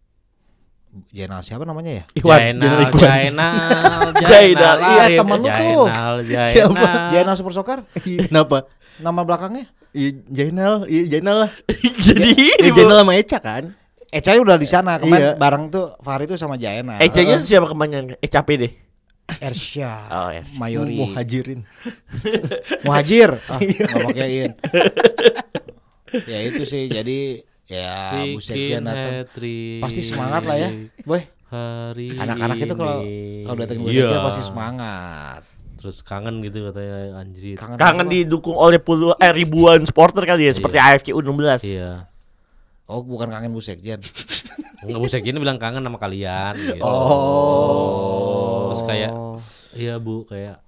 Jainal siapa namanya ya Iwan, Jainal, Jainal Iwan. Jainal, Jainal, Jainal, iya, Arif, temen lu tuh. Jainal, Siapa? Jainal. Jainal Super Soccer Iya. Kenapa? nama belakangnya Iya, Jainal, iya Jainal lah. Jadi ini Iya, Jainal sama Eca kan? Eca udah di sana kemarin Iya. bareng tuh Fahri tuh sama Jainal Ejanya siapa kemanyan? Eh capek deh. Ersya Oh, Ersya. Mayori Mau hajirin. Muhajir ah, Iya. nggak pakaiin ya itu sih jadi ya Bu Sekjen Bikin datang hat-trick pasti semangat lah ya boy Hari anak-anak itu kalau ini. kalau datang Bu Iya. Sekjen pasti semangat Terus kangen gitu katanya anjir. Kangen apa? didukung oleh puluh eh, ribuan supporter kali Iya. ya seperti AFC U16. Iya. oh bukan kangen Bu Sekjen Enggak Bu Sekjen bilang kangen sama kalian gitu. oh Terus kayak iya Bu kayak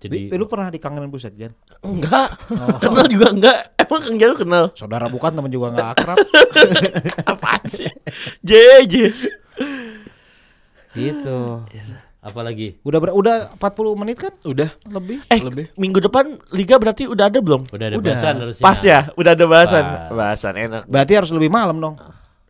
Bi, jadi lu pernah dikangenin Bu Sekjen Enggak. Kenal juga enggak. Emang Kang Jalu kenal. saudara bukan temen juga nggak akrab Apaan sih? JJ. gitu apalagi udah ber- udah 40 menit kan Udah. lebih Eh, Lebih. minggu depan liga berarti udah ada belum? udah ada bahasan harusnya. Pas ya, udah ada bahasan. Pas. Bahasan enak. berarti harus lebih malam dong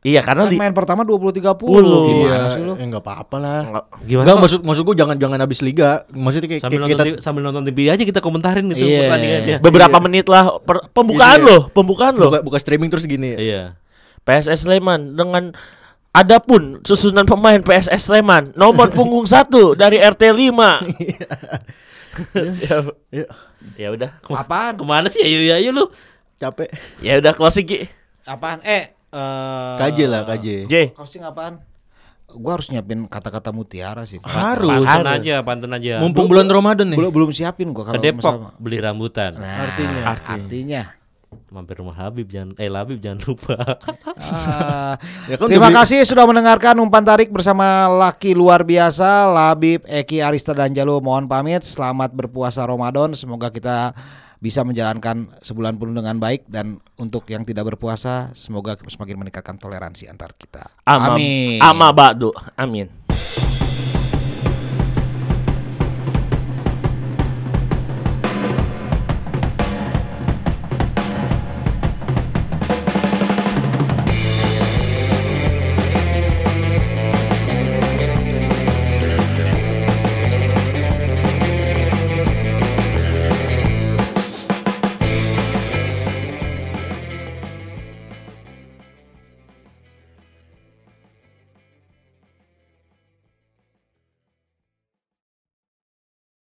Iya, karena kan li- main pertama 20 30 Puluh. gimana Iya, sih lu eh, enggak apa-apa lah. Enggak. Gimana? Enggak maksud maksud gua jangan jangan habis liga. Maksudnya kayak, sambil kayak nonton kita TV, sambil nonton TV aja kita komentarin gitu Iya. pertandingannya. beberapa menit lah per- pembukaan Iya. loh, pembukaan loh. buka, buka streaming terus gini. Iya. PSS Sleman dengan adapun susunan pemain PSS Sleman nomor punggung satu dari RT 5 Iya, ya udah apaan Kemana sih ayo ya ayo lu? capek. ya udah closing Ki. apaan eh eh, KJ lah, KJ. J Closing apaan? Gua harus nyiapin kata-kata mutiara sih. Harus. Pantun aja, pantun aja. Mumpung bulan Ramadan nih. Belum belum siapin gua ke kalau Depok masalah- beli rambutan. Nah, Artinya. artinya. Mampir rumah Habib jangan eh Labib jangan lupa. Ah, Ya kan terima udah beli- kasih sudah mendengarkan umpan tarik bersama laki luar biasa Labib Eki Arista dan Jalu mohon pamit selamat berpuasa Ramadan semoga kita bisa menjalankan sebulan penuh dengan baik dan untuk yang tidak berpuasa semoga semakin meningkatkan toleransi antar kita ama amin ama Bado amin